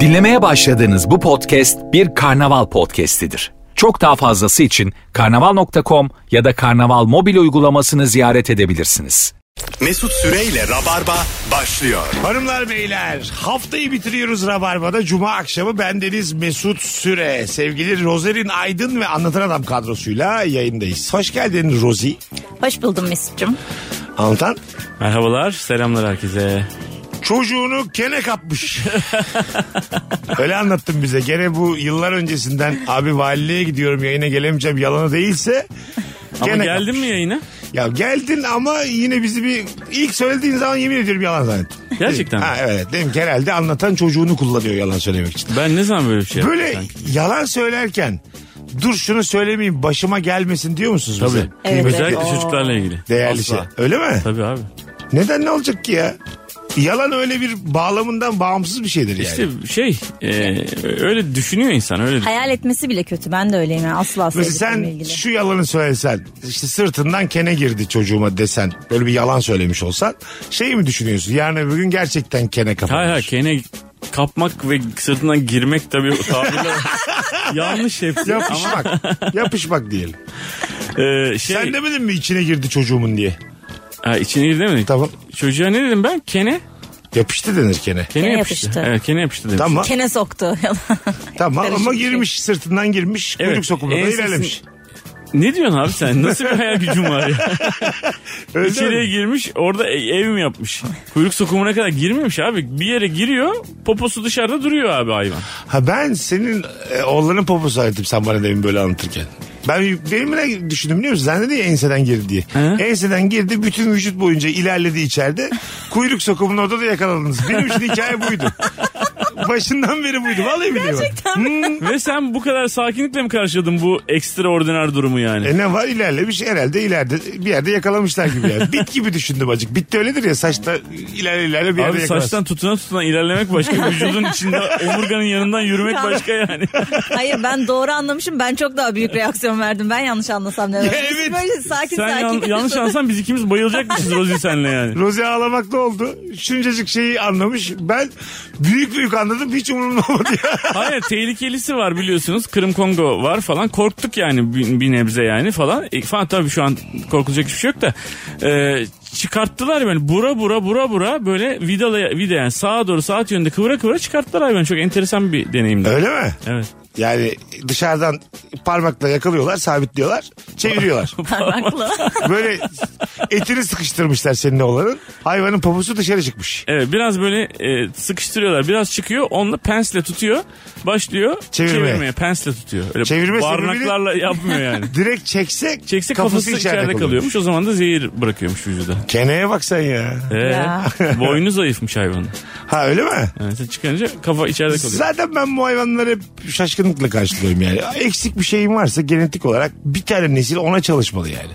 Dinlemeye başladığınız bu podcast bir karnaval podcastidir. Çok daha fazlası için karnaval.com ya da karnaval mobil uygulamasını ziyaret edebilirsiniz. Mesut Süreyle Rabarba başlıyor. Hanımlar beyler haftayı bitiriyoruz Rabarba'da. Cuma akşamı bendeniz Mesut Süre. Sevgili Rozerin Aydın ve Anlatan Adam kadrosuyla yayındayız. Hoş geldin Rozi. Hoş buldum Mesut'cum. Anlatan Merhabalar, selamlar herkese. çocuğunu gene kapmış. Öyle anlattın bize. Gene bu yıllar öncesinden abi valiliğe gidiyorum yayına gelemeyeceğim yalanı değilse. Ama gene geldin kapmış. mi yayına? Ya geldin ama yine bizi bir ilk söylediğin zaman yemin ediyorum yalan zannettim. Gerçekten mi? Ha evet. Dedim ki herhalde anlatan çocuğunu kullanıyor yalan söylemek için. Ben ne zaman böyle bir şey yaptım? Böyle yalan söylerken dur şunu söylemeyeyim başıma gelmesin diyor musunuz Tabii. bize? Evet, Kıymetli, Özellikle Oo. çocuklarla ilgili. değerli Asla. şey. Öyle mi? Tabii abi. Neden ne olacak ki ya? Yalan öyle bir bağlamından bağımsız bir şeydir yani. İşte şey, e, öyle düşünüyor insan. Öyle Hayal etmesi bile kötü. Ben de öyleyim. Yani. Asla Mesela sen sevdiklerimle ilgili. şu yalanı söylesen işte sırtından kene girdi çocuğuma desen böyle bir yalan söylemiş olsan şey mi düşünüyorsun yarın öbür gün gerçekten kene Hayır hayır, kapanmış. kene kapmak ve sırtından girmek tabii o tabirle yanlış hepsi. Ama Yapışmak. yapışmak diyelim. e, şey, Sen demedin mi içine girdi çocuğumun diye? ha, içine girdi mi? Tamam. Çocuğa ne dedim ben? Kene. Yapıştı denir kene. Kene, Kene yapıştı. yapıştı. Evet, kene yapıştı demiş. Tamam. Kene soktu. Tamam Karışık ama bir şey. girmiş sırtından girmiş Evet, kuyruk sokumuna da ensesini- ilerlemiş. Ne diyorsun abi sen? Nasıl bir hayal gücün var ya? Öyle İçeriye mi? girmiş orada e- ev mi yapmış? Kuyruk sokumuna kadar girmemiş abi. Bir yere giriyor poposu dışarıda duruyor abi hayvan. Ha ben senin e, oğlanın poposu ayırdım sen bana demin böyle anlatırken. Ben benim ne düşündüm biliyor musun? Zannedi ya enseden girdi diye. Enseden girdi bütün vücut boyunca ilerledi içeride. Kuyruk sokumunun orada da yakaladınız. Benim için hikaye buydu. Başından beri buydu. Vallahi biliyorum. Hmm. Ve sen bu kadar sakinlikle mi karşıladın bu ekstraordiner durumu yani? E ne var ilerlemiş herhalde ileride bir yerde yakalamışlar gibi yani. Bit gibi düşündüm acık. Bit de öyledir ya saçta ilerle ilerle bir yerde Abi yakalarsın. saçtan tutuna tutuna ilerlemek başka, vücudun içinde omurganın yanından yürümek başka yani. Hayır ben doğru anlamışım. Ben çok daha büyük reaksiyon verdim. Ben yanlış anlasam ne olur? Ya Biz evet. Böyle sakin Sen sakin. yan- yanlış anlasan biz ikimiz bayılacakmışız Rozi senle yani. Rozi ağlamaklı oldu. Şuncacık şeyi anlamış. Ben büyük büyük anladım. Hiç umurumda olmadı ya. Hayır tehlikelisi var biliyorsunuz. Kırım Kongo var falan. Korktuk yani bir, bir nebze yani falan. E, falan tabii şu an korkulacak hiçbir şey yok da. E, çıkarttılar yani bura bura bura bura böyle vidalaya vida yani sağa doğru saat yönünde kıvıra kıvıra çıkarttılar hayvanı. Çok enteresan bir deneyimdi. Evet. Öyle mi? Yani dışarıdan parmakla yakalıyorlar, sabitliyorlar, çeviriyorlar. Parmakla. Böyle etini sıkıştırmışlar senin oğlanın. Hayvanın poposu dışarı çıkmış. Evet biraz böyle e, sıkıştırıyorlar. Biraz çıkıyor. Onunla pensle tutuyor. Başlıyor Çevirmeye. çevirmeye. Pensle tutuyor. Öyle Çevirme barnaklarla yapmıyor yani. Direkt çekse, Çekse kafası, içeride, kalıyormuş. O zaman da zehir bırakıyormuş vücuda. Keneye bak sen ya. Ee, Ya. boynu zayıfmış hayvanın. Ha öyle mi? Yani sen çıkarınca kafa içeride kalıyor. Zaten ben bu hayvanları hep şaşkınlıkla karşılıyorum yani. Eksik bir şeyim varsa genetik olarak bir tane nesil ona çalışmalı yani.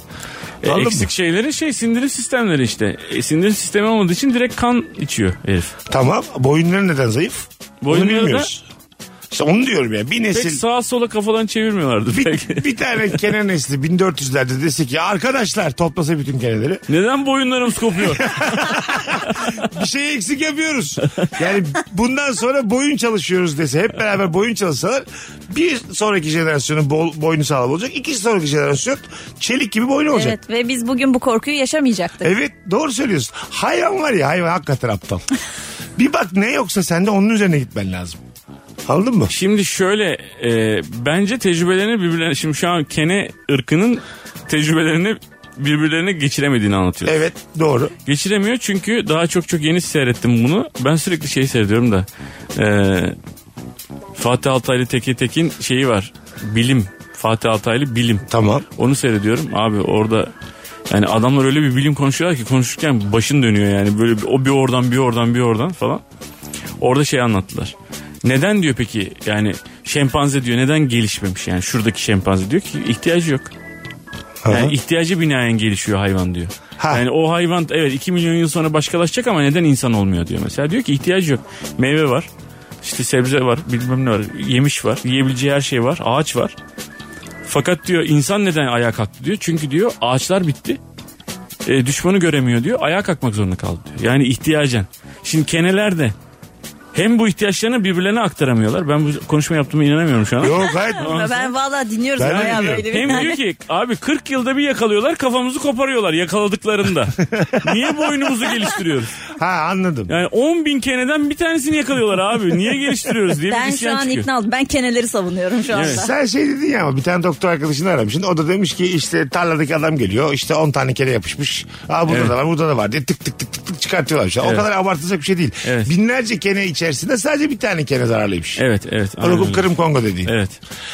E, Anladın eksik mı? şeyleri şey sindirim sistemleri işte. E, sindirim sistemi olmadığı için direkt kan içiyor herif. Tamam. Boyunları neden zayıf? Boyunları Boyunları da- bilmiyoruz. İşte onu diyorum ya. Bir Pek nesil sağa sola kafalarını çevirmiyorlardı pek. bir, bir tane kene nesli 1400'lerde dese ki arkadaşlar toplasa bütün keneleri Neden boyunlarımız kopuyor? bir şey eksik yapıyoruz. Yani bundan sonra boyun çalışıyoruz dese hep beraber boyun çalışsalar bir sonraki jenerasyonun bol, boynu sağlam olacak. İki sonraki jenerasyon çelik gibi boynu olacak. evet ve biz bugün bu korkuyu yaşamayacaktık. Evet doğru söylüyorsun. Hayvan var ya hayvan hakikaten aptal. bir bak ne yoksa sende onun üzerine gitmen lazım. Anladın mı? Şimdi şöyle e, bence tecrübelerini birbirlerine şimdi şu an kene ırkının tecrübelerini birbirlerine geçiremediğini anlatıyor. Evet doğru. Geçiremiyor çünkü daha çok çok yeni seyrettim bunu. Ben sürekli şey seyrediyorum da e, Fatih Altaylı Teke Tekin şeyi var. Bilim. Fatih Altaylı bilim. Tamam. Onu seyrediyorum. Abi orada yani adamlar öyle bir bilim konuşuyorlar ki konuşurken başın dönüyor yani. Böyle bir- o bir oradan bir oradan bir oradan falan. Orada şey anlattılar. Neden diyor peki yani şempanze diyor neden gelişmemiş yani şuradaki şempanze diyor ki ihtiyacı yok. Yani ihtiyacı binaen gelişiyor hayvan diyor. Ha. Yani o hayvan evet 2 milyon yıl sonra başkalaşacak ama neden insan olmuyor diyor mesela. Diyor ki ihtiyacı yok. Meyve var. işte sebze var, bilmem ne var, yemiş var, yiyebileceği her şey var, ağaç var. Fakat diyor insan neden ayağa kalktı diyor. Çünkü diyor ağaçlar bitti. E, düşmanı göremiyor diyor. Ayağa kalkmak zorunda kaldı diyor. Yani ihtiyacen. Şimdi keneler de Hem bu ihtiyaçlarını birbirlerine aktaramıyorlar. Ben bu konuşma yaptığıma inanamıyorum şu an. Yok hayır. Ben valla dinliyoruz Ben de bayağı dinliyorum. böyle. Hem diyor ki abi 40 yılda bir yakalıyorlar kafamızı koparıyorlar yakaladıklarında. Niye bu oyunumuzu geliştiriyoruz? ha anladım. Yani 10 bin keneden bir tanesini yakalıyorlar abi. Niye geliştiriyoruz diye Ben bir şu isyan an çıkıyor. ikna oldum. Ben keneleri savunuyorum şu anda. Evet. Sen şey dedin ya ama bir tane doktor arkadaşını aramışsın. O da demiş ki işte tarladaki adam geliyor. İşte 10 tane kere yapışmış. Aa burada Evet. da var burada da var diye tık tık tık tık, tık çıkartıyorlar. O Evet. kadar abartılacak bir şey değil. Evet. Binlerce kene içerisinde sadece bir tane kene zararlıymış. Evet evet. aynen Rukum öyle. Kırım Kongo dediğin. Evet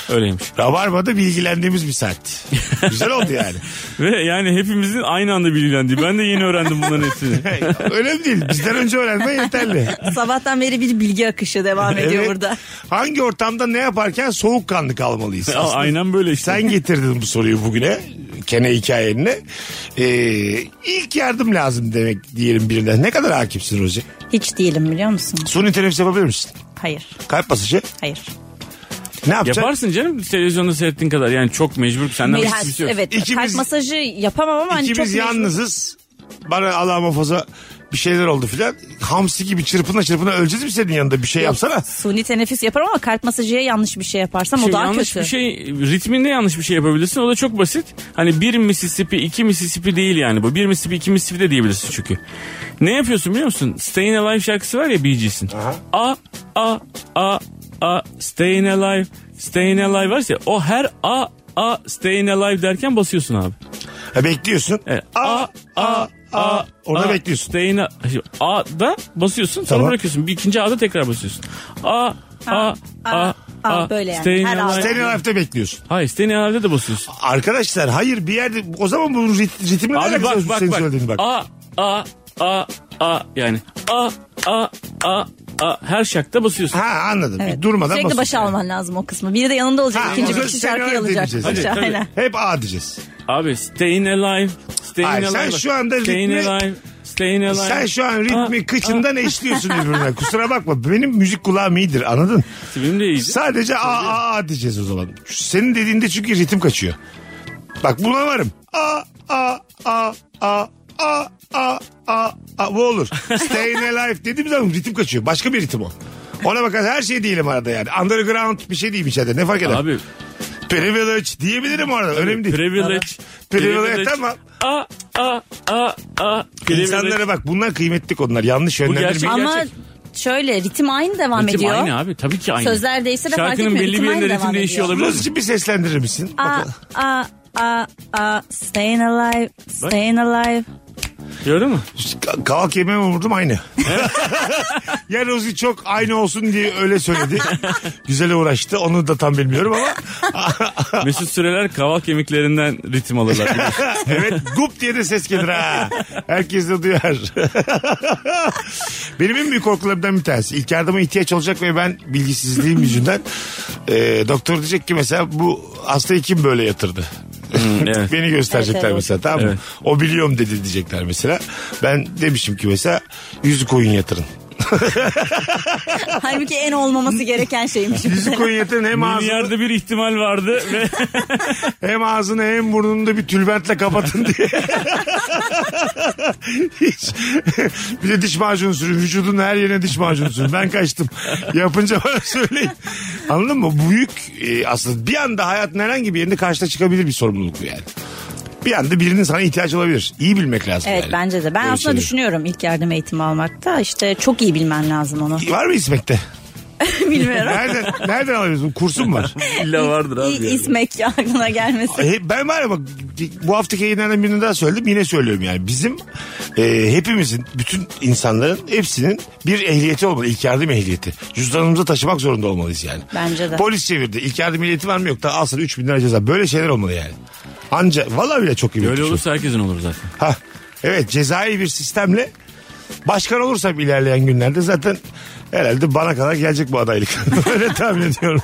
öyleymiş. Rabarba'da bilgilendiğimiz bir saat. Güzel oldu yani. Ve yani hepimizin aynı anda bilgilendiği. Ben de yeni öğrendim bunların hepsini. Önemli değil. Bizden önce öğrenmen yeterli. Sabahtan beri bir bilgi akışı devam ediyor Evet. burada. Hangi ortamda ne yaparken soğukkanlı kalmalıyız? Ya, Aslında Aynen böyle işte. Sen getirdin bu soruyu bugüne. Kene hikayenine. Ee, ilk yardım lazım demek diyelim birinden. Ne kadar hakimsin Rozi? Hiç değilim biliyor musun? Suni teneffüs yapabilir misin? Hayır. Kalp basıcı. Hayır. Ne yapacaksın? Yaparsın canım televizyonda seyrettiğin kadar. Yani çok mecbur senden bir Ha, şey yok. evet. İkimiz- kalp masajı yapamam ama hani çok İkimiz yalnızız. Bana Allah muhafaza bir şeyler oldu filan. Hamsi gibi çırpına çırpına öleceğiz mi senin yanında? Bir şey yapsana. Suni teneffüs yaparım ama kalp masajıya yanlış bir şey yaparsam Şimdi o daha yanlış kötü. bir şey ritminde yanlış bir şey yapabilirsin. O da çok basit. Hani bir Mississippi iki Mississippi değil yani bu. Bir Mississippi iki Mississippi de diyebilirsin çünkü. Ne yapıyorsun biliyor musun? Stayin Alive şarkısı var ya Bee Gees'in. A a a a Stayin Alive Stayin Alive varsa ya, o her a a Stayin Alive derken basıyorsun abi. E, Ha, bekliyorsun. Evet. E, A, a, a. Orada bekliyorsun. Stayin A A'da basıyorsun sonra Tamam. bırakıyorsun. Bir ikinci A'da tekrar basıyorsun. A a a a, a böyle yani. Stayin' Her Alive. A'da. Senin harfte bekliyorsun. Hayır Stayin Alive'de de basıyorsun. Arkadaşlar hayır bir yerde o zaman bunun rit- ritmi Abi bak bak senin bak. söylediğin bak. A a a a yani a a a a her şakta basıyorsun. Ha anladım. Evet. Bir durmadan Sürekli başa basıyorsun. alman lazım o kısmı. Biri de yanında olacak. Ha, ikinci o bir zaman kişi seni şarkıyı öyle alacak. dinleyeceğiz. Başa, Hadi, tabii. aynen. Hep A diyeceğiz. Abi staying alive, staying Hayır, sen alive. şu anda staying ritmi- alive, staying alive. Sen şu an A, ritmi kıçından eşliyorsun birbirine. Kusura bakma. Benim müzik kulağım iyidir anladın? Benim de iyiydi. Sadece a a a diyeceğiz o zaman. Senin dediğinde çünkü ritim kaçıyor. Bak buna varım. A a a a a a a a bu olur. Staying alive dediğim zaman ritim kaçıyor. Başka bir ritim o. Ona bakarsan her şey değilim arada yani. Underground bir şey diyeyim içeride. Ne fark eder? Abi Privilege diyebilirim arada. Önemli değil. privilege. Privilege, tamam. A a a a. Privilege. İnsanlara bak bunlar kıymetli konular. Yanlış gerçek- yönlendirmeyin. Ama Gerçek. şöyle ritim aynı devam Ritim ediyor. aynı abi tabii ki aynı. Sözler değişse de fark Şarkının etmiyor, belli ritim bir aynı yerinde devam ritim değişiyor ediyor. olabilir. Nasıl için bir seslendirir misin? A Bakalım. a a a staying alive, staying alive. Gördün mü? Ka- Kavak yemeğe vurdum aynı. ya Rozi çok aynı olsun diye öyle söyledi. Güzel uğraştı. Onu da tam bilmiyorum ama. Mesut Süreler kavak kemiklerinden ritim alırlar. biliyorsun. evet gup diye de ses gelir ha. Herkes de duyar. Benim en büyük korkularımdan bir tanesi. İlk yardıma ihtiyaç olacak ve ben bilgisizliğim yüzünden e, doktor diyecek ki mesela bu hastayı kim böyle yatırdı? Hmm, evet. Beni gösterecekler Evet, evet. mesela tamam mı? Evet. O biliyorum dedi diyecekler mesela. Ben demişim ki mesela yüzü koyun yatırın. Halbuki en olmaması gereken şeymiş. Yüzü koyun yatırın hem ağzını Milyarda bir ihtimal vardı ve Hem ağzını hem burnunu da bir tülbentle kapatın diye. Hiç. bir de diş macunu sürün. Vücudun her yerine diş macunu sürün. Ben kaçtım. Yapınca bana söyleyin. Anladın mı? Büyük e, aslında bir anda hayatın herhangi bir yerinde karşına çıkabilir bir sorumluluk bu yani. Bir anda birinin sana ihtiyaç olabilir. İyi bilmek lazım Evet yani. bence de. Ben Böyle aslında şey- şeyleri. düşünüyorum ilk yardım eğitimi almakta. İşte çok iyi bilmen lazım onu. Var mı İsmek'te? Bilmiyorum. Nereden, nereden alıyorsun? Kursun var. illa vardır abi. İyi yani. ismek ya, aklına gelmesin. E, Ben var ya bak bu haftaki yayınlardan birini daha söyledim yine söylüyorum yani bizim e, hepimizin bütün insanların hepsinin bir ehliyeti olmalı ilk yardım ehliyeti cüzdanımıza taşımak zorunda olmalıyız yani. Bence de. Polis çevirdi ilk yardım ehliyeti var mı yok da alsın 3 bin lira ceza böyle şeyler olmalı yani. Anca valla bile çok iyi. Böyle olursa herkesin olur zaten. Ha, evet cezai bir sistemle başkan olursam ilerleyen günlerde zaten herhalde bana kadar gelecek bu adaylık. Öyle tahmin ediyorum.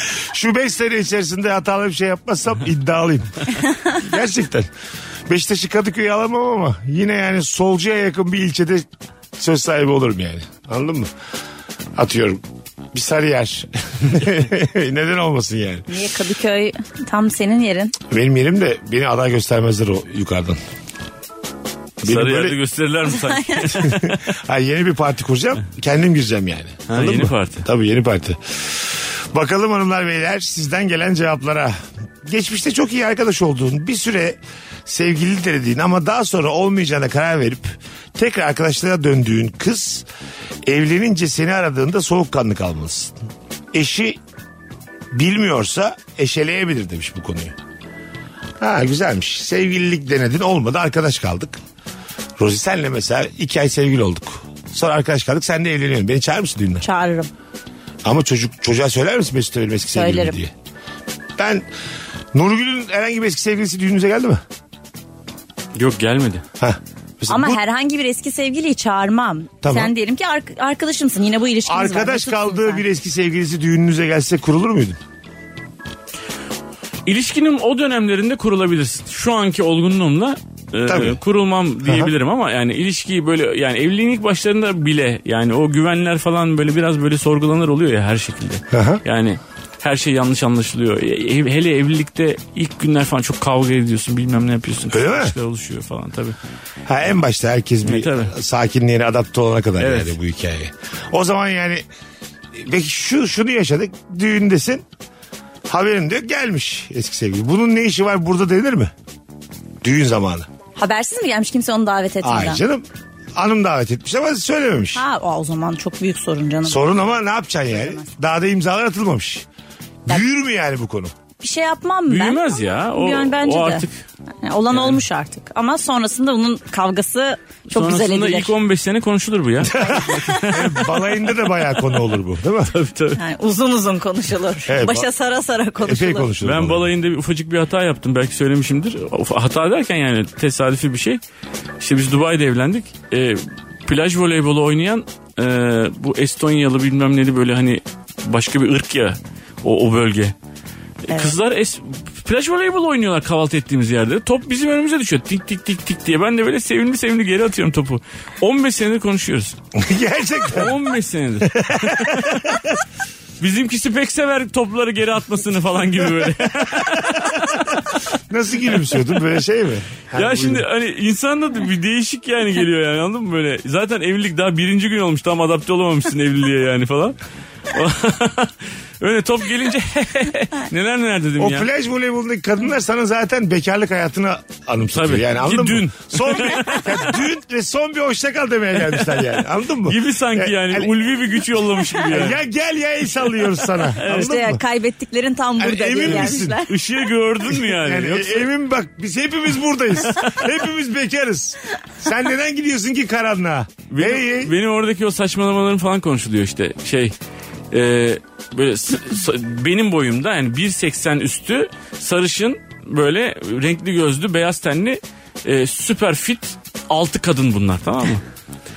Şu 5 sene içerisinde hatalı bir şey yapmazsam iddialıyım. Gerçekten. Beşiktaş'ı Kadıköy'e alamam ama yine yani solcuya yakın bir ilçede söz sahibi olurum yani. Anladın mı? Atıyorum. Bir Sarıyer. Neden olmasın yani? Niye Kadıköy tam senin yerin? Benim yerim de beni aday göstermezler o yukarıdan. Benim Sarı yerde böyle- gösterirler mi sanki? Ha, yeni bir parti kuracağım. Kendim gireceğim yani. Ha, Anladın yeni mı? parti. Tabii yeni parti. Bakalım hanımlar beyler sizden gelen cevaplara. Geçmişte çok iyi arkadaş olduğun bir süre sevgili de dediğin ama daha sonra olmayacağına karar verip tekrar arkadaşlara döndüğün kız evlenince seni aradığında soğukkanlı kalmalısın. Eşi bilmiyorsa eşeleyebilir demiş bu konuyu. Ha güzelmiş. Sevgililik denedin olmadı arkadaş kaldık. Rozi senle mesela iki ay sevgili olduk. Sonra arkadaş kaldık sen de evleniyorsun. Beni çağırır mısın düğüne? Çağırırım. Ama çocuk çocuğa söyler misin Mesut benim eski sevgilim Söylerim. diye? Ben Nurgül'ün herhangi bir eski sevgilisi düğünümüze geldi mi? Yok gelmedi. Ha. Mesela Ama bu herhangi bir eski sevgiliyi çağırmam. Tamam. Sen diyelim ki ar- arkadaşımsın. Yine bu ilişkiniz var. arkadaş Mesutsun kaldığı sen. bir eski sevgilisi düğününüze gelse kurulur muydun? İlişkinin o dönemlerinde kurulabilirsin. Şu anki olgunluğumla e, Tabii. kurulmam diyebilirim ama yani ilişkiyi böyle yani evliliğin ilk başlarında bile yani o güvenler falan böyle biraz böyle sorgulanır oluyor ya her şekilde. Aha. Yani her şey yanlış anlaşılıyor. E, ev- Hele evlilikte ilk günler falan çok kavga ediyorsun bilmem ne yapıyorsun. Öyle mi? Kıskançlıklar oluşuyor falan tabii. Ha en başta herkes bir E, tabii. sakinliğine adapte olana kadar Evet. yani bu hikaye. O zaman yani peki şu şunu yaşadık düğündesin haberin diyor gelmiş eski sevgili. Bunun ne işi var burada denir mi? Düğün zamanı. Habersiz mi gelmiş kimse onu davet etmeden? Ay canım hanım davet etmiş ama söylememiş. Ha o zaman çok büyük sorun canım. Sorun ama ne yapacaksın yani? Daha da imzalar atılmamış. Büyür mü yani bu konu? bir şey yapmam ben. Büyümez ya. O- Yani bence o de. artık- Yani olan olmuş artık. Ama sonrasında bunun kavgası çok güzel Sonrasında edilir. ilk 15 sene konuşulur bu ya. Balayında da bayağı konu olur bu değil mi? tabii tabii. Yani uzun uzun konuşulur. Evet, ba- Başa sara sara konuşulur. Epey konuşulur. Ben balayında bir ufacık bir hata yaptım. Belki söylemişimdir. Of, Hata derken yani tesadüfi bir şey. İşte biz Dubai'de evlendik. Ee, plaj voleybolu oynayan e, bu Estonyalı bilmem neli böyle hani başka bir ırk ya o, o bölge. E, Kızlar es, plaj voleybolu oynuyorlar kahvaltı ettiğimiz yerde. Top bizim önümüze düşüyor. Tik tik tik tik diye. Ben de böyle sevimli sevimli geri atıyorum topu. 15 senedir konuşuyoruz. Gerçekten. 15 senedir. Bizimkisi pek sever topları geri atmasını falan gibi böyle. Nasıl gülümsüyordun böyle şey mi? Ha, Ya buyurun. şimdi hani insanda da bir değişik yani geliyor yani anladın mı böyle? Zaten evlilik daha birinci gün olmuş tam adapte olamamışsın evliliğe yani falan. Öyle top gelince neler neler dedim O ya. plaj voleybolundaki kadınlar sana zaten bekarlık hayatını anımsatıyor. Tabii. Yani anladın Ki mı? dün. Son bir, ya dün ve son bir hoşça kal demeye gelmişler yani. Anladın mı? gibi sanki Ya- yani hani- e, ulvi bir güç yollamış gibi yani. ya gel ya el sallıyoruz sana. Anladın İşte mı? ya, kaybettiklerin tam Yani burada diye emin misin? gelmişler. Işığı gördün mü yani? Yani Yoksa- e- emin bak biz hepimiz buradayız. hepimiz bekarız. Sen neden gidiyorsun ki karanlığa? Benim, Hey, hey. benim oradaki o saçmalamaların falan konuşuluyor işte. Şey e, böyle s- s- benim boyumda yani 1.80 üstü sarışın böyle renkli gözlü beyaz tenli e, süper fit altı kadın bunlar tamam mı?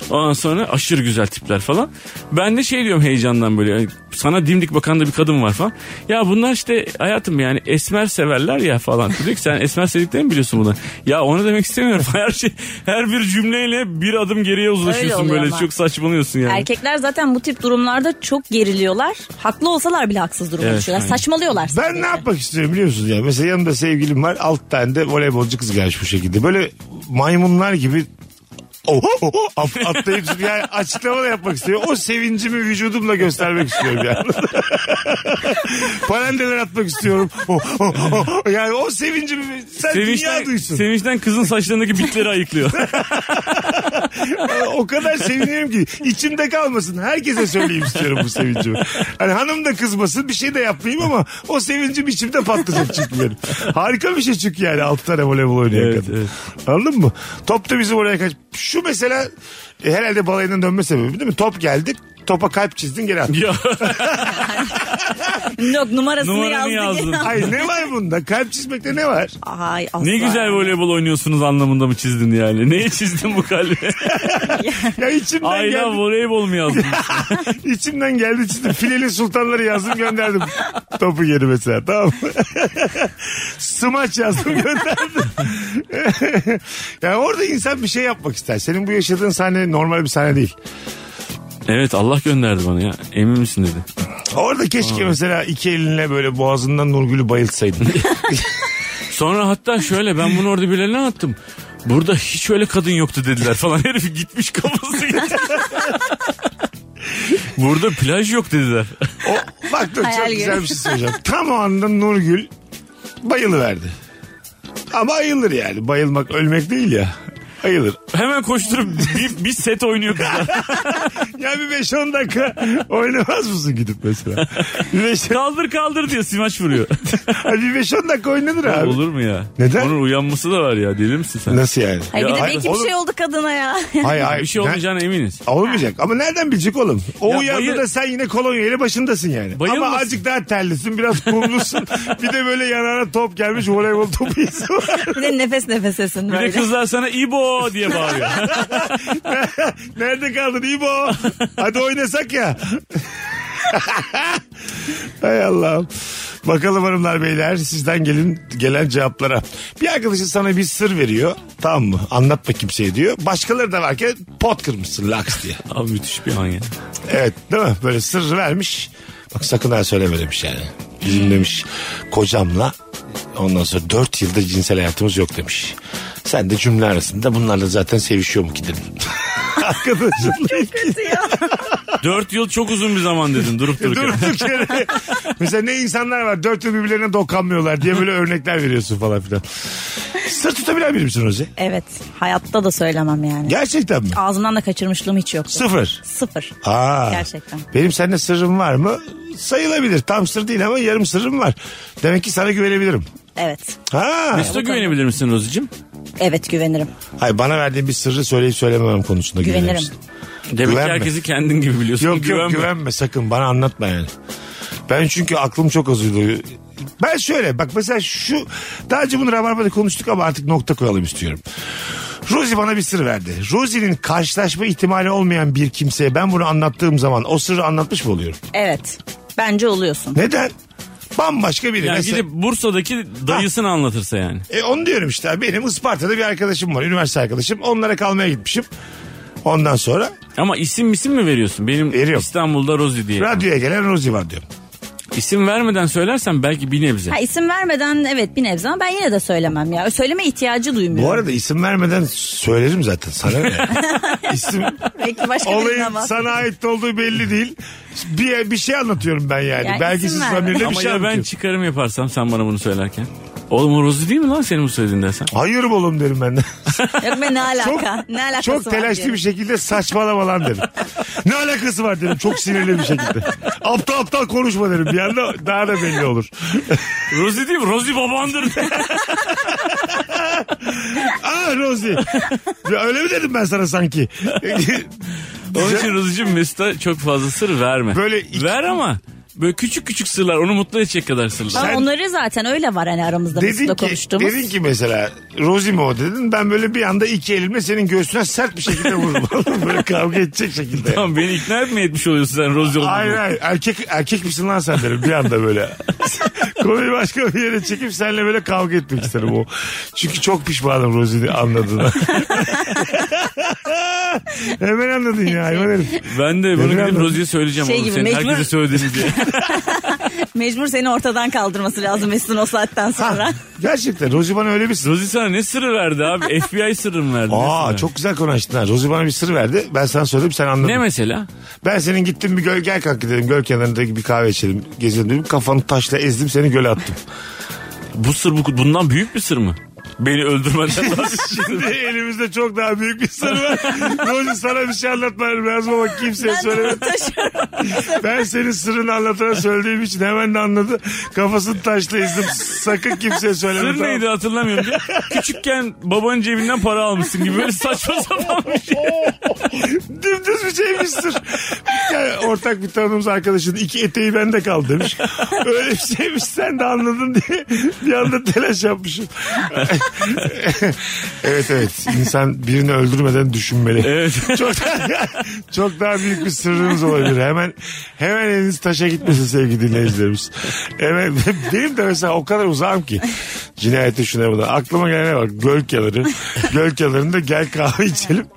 Ondan sonra aşırı güzel tipler falan. Ben de şey diyorum heyecandan böyle. yani Sana dimdik bakan da bir kadın var falan. Ya bunlar işte hayatım yani esmer severler ya falan. Diyor ki sen esmer sevdiklerini mi biliyorsun bunu. Ya onu demek istemiyorum. Her şey her bir cümleyle bir adım geriye uzlaşıyorsun oluyor böyle. ama. Çok saçmalıyorsun yani. Erkekler zaten bu tip durumlarda çok geriliyorlar. Haklı olsalar bile haksız duruma Evet, düşüyorlar. aynen. Saçmalıyorlar. Ben ne yapmak istiyorum biliyor musunuz ya? Mesela yanımda sevgilim var. Alt tane de voleybolcu kız gelmiş bu şekilde. Böyle maymunlar gibi Oho, oho, at- atlayıp yani açıklama da yapmak istiyor. O sevincimi vücudumla göstermek istiyorum yani. Parandeler atmak istiyorum. Oh, oh, oh. Yani o sevincimi sen dünya Sevinçten, duysun. sevinçten kızın saçlarındaki bitleri ayıklıyor. Ee, o kadar seviniyorum ki içimde kalmasın. Herkese söyleyeyim istiyorum bu sevincimi. Hani hanım da kızmasın bir şey de yapmayayım ama o sevincim içimde patlayacak çünkü benim. Harika bir şey çünkü yani altı tane voleybol oynayan Evet, kadın. evet. Anladın mı? Top da bizim oraya kaç. Şu mesela e, herhalde balayından dönme sebebi değil mi? Top geldi topa kalp çizdin geri attın. ya, Yok numarasını, Numaranı yazdık. yazdın. Ay ne var bunda? Kalp çizmekte ne var? Ay, asla. ne güzel voleybol oynuyorsunuz anlamında mı çizdin yani? Neye çizdin bu kalbi? Ya içimden Ayla geldi. voleybol mu yazdın? İçimden geldi çizdim. Fileli sultanları yazdım gönderdim. Topu geri mesela tamam mı? Smaç yazdım gönderdim. yani orada insan bir şey yapmak ister. Senin bu yaşadığın sahne normal bir sahne değil. evet Allah gönderdi bana ya. Emin misin dedi. Orada keşke mesela iki elinle böyle boğazından Nurgül'ü bayıltsaydın. Sonra hatta şöyle ben bunu orada birilerine attım. Burada hiç öyle kadın yoktu dediler falan. Herif gitmiş kafası gitmiş. Burada plaj yok dediler. O, bak dur, çok Hayal güzel görüyorum. bir şey söyleyeceğim. Tam o anda Nurgül bayılıverdi. Ama ayılır yani. Bayılmak ölmek değil ya. Ayılır. Hemen koşturup bir, bir set oynuyor kızlar. Ya bir 5-10 dakika oynamaz mısın gidip mesela? Bir 5 kaldır kaldır diyor simaç vuruyor. bir 5-10 dakika oynanır abi. Olur mu ya? Neden? Onun uyanması da var ya deli misin sen? Nasıl yani? Ay bir Ya, de hayır, belki bir oğlum- şey oldu kadına ya. Hayır hayır. Bir şey Ne- olmayacağına eminiz. Olmayacak ama nereden bilecek oğlum? O Ya uyandı bayı- da sen yine kolonya ile başındasın yani. Bayılmasın. Ama azıcık daha terlisin biraz kumlusun. bir de böyle yanağına top gelmiş voleybol topu izi var. bir de nefes nefesesin Bir de böyle. kızlar sana İbo diye bağırıyor. Nerede kaldın İbo? Hadi oynasak ya. Hay Allah'ım. Bakalım hanımlar beyler sizden gelin gelen cevaplara. Bir arkadaşın sana bir sır veriyor. Tamam mı? Anlatma kimseye diyor. Başkaları da varken pot kırmışsın laks diye. Abi müthiş bir an ya. Evet değil mi? Böyle sır vermiş. Bak sakın ha söyleme demiş yani. Bizim demiş kocamla ondan sonra 4 yılda cinsel hayatımız yok demiş. Sen de cümle arasında bunlarla zaten sevişiyor mu ki dedim. Arkadaşımla Kötü ya. Dört yıl çok uzun bir zaman dedin durup dururken. durduk yere. Mesela ne insanlar var 4 yıl birbirlerine dokanmıyorlar diye böyle örnekler veriyorsun falan filan. Sır tutabilen biri misin Rozi? evet hayatta da söylemem yani. Gerçekten mi? Ağzımdan da kaçırmışlığım hiç yok. Sıfır. Sıfır. Aa, Gerçekten. Benim seninle sırrım var mı? Sayılabilir. Tam sır değil ama yarım sırrım var. Demek ki sana güvenebilirim. Evet. Ha. Mesut'a güvenebilir misin Rozi'cim? Evet güvenirim. Hayır bana verdiğin bir sırrı söyleyip söylememem konusunda Güvenirim. güvenirsin. Demek ki Güvenme. herkesi kendin gibi biliyorsun. Yok Güvenme. yok güvenme sakın bana anlatma yani. Ben çünkü aklım çok az uydu. Ben şöyle bak mesela şu daha önce bunu Rabarba'da konuştuk ama artık nokta koyalım istiyorum. Rosie bana bir sır verdi. Rosie'nin karşılaşma ihtimali olmayan bir kimseye ben bunu anlattığım zaman o sırrı anlatmış mı oluyorum? Evet. Bence oluyorsun. Neden? Bambaşka biri. Yani mesela, gidip Bursa'daki dayısını anlatırsa yani. E onu diyorum işte abi. benim Isparta'da bir arkadaşım var. Üniversite arkadaşım. Onlara kalmaya gitmişim. Ondan sonra Ama isim isim mi veriyorsun? Benim Veriyorum. İstanbul'da Rozi diye. radyoya gelen Rosie var diyorum. İsim vermeden söylersen belki bir nebze. Ha, isim vermeden evet bir nebze ama ben yine de söylemem ya. Söyleme ihtiyacı duymuyorum. Bu arada isim vermeden söylerim zaten sana ne? isim Belki başka birine olayın ama. sana ait olduğu belli değil. Bir, bir şey anlatıyorum ben yani. Ya Belki isim siz verme. familiyle bir Ama şey ya ben anlatıyorum. çıkarım yaparsam sen bana bunu söylerken. Oğlum o Rozi değil mi lan senin bu söylediğin dersen? Hayır oğlum derim ben de. Yok be ne alaka? çok ne alakası çok var telaşlı diyorum. bir şey. şekilde saçmalama lan derim. ne alakası var derim çok sinirli bir şekilde. Aptal aptal konuşma derim bir anda daha da belli olur. Rozi değil mi? Rozi babandır. Aa Rosie. Ah Ya öyle mi dedim ben sana sanki? Onun için Rozi'cim Mesut'a çok fazla sır verme. Böyle iki- Ver ama böyle küçük küçük sırlar onu mutlu edecek kadar Ama sırlar. Sen- onları zaten öyle var hani aramızda Dedin Mesut'la ki, konuştuğumuz. dedin ki mesela Rosie mi o dedin ben böyle bir anda iki elimle senin göğsüne sert bir şekilde vururum. böyle kavga edecek şekilde. Tamam beni ikna etmeye etmiş oluyorsun sen Rozi olduğunu. Hayır hayır erkek, erkek misin lan sen derim bir anda böyle. Konuyu başka bir yere çekip seninle böyle kavga etmek isterim o. Çünkü çok pişmanım Rosie'ni anladığına. Hemen anladın ya hayvan herif. Ben de bunu Neden gidip lan? Rozi'ye söyleyeceğim Şey oğlum. gibi, Senin mecbur- herkese söylediğini diye. Mecbur seni ortadan kaldırması lazım Mesut'un o saatten sonra. Gerçekten Rosie bana öyle bir sır. Rozi sana ne sırrı verdi abi? FBI sırrı mı verdi? Ne Aa sırrı? çok güzel konu açtın ha. Rosie bana bir sır verdi. Ben sana söyledim sen anladın. Ne mesela? Ben senin gittim bir göl gel kalk gidelim göl kenarındaki bir kahve içelim gezelim dedim. Kafanı taşla ezdim seni göle attım. Bu sır bu, bundan büyük bir sır mı? Beni öldürmeden daha Şimdi elimizde çok daha büyük bir sır var. Rozi sana bir şey anlatmam lazım ama kimseye Ben de söyleme. taşıyorum. Ben senin sırrını anlatana söylediğim için hemen de anladı. Kafasını taşla ezdim. Sakın kimseye söyleme. Sır tamam. neydi hatırlamıyorum. diye. Küçükken babanın cebinden para almışsın gibi böyle saçma sapan bir şey. Dümdüz bir şeymiştir. Yani ortak bir tanıdığımız arkadaşın iki eteği bende kaldı demiş. Öyle bir şeymiş sen de anladın diye bir anda telaş yapmışım. evet evet insan birini öldürmeden düşünmeli. Evet. Çok daha, çok daha büyük bir sırrınız olabilir. Hemen hemen eliniz taşa gitmesin sevgili dinleyicilerimiz. Hemen, benim de mesela o kadar uzağım ki. Cinayete şuna buna. Aklıma gelene bak. Göl kenarı. Göl kenarında gel kahve içelim.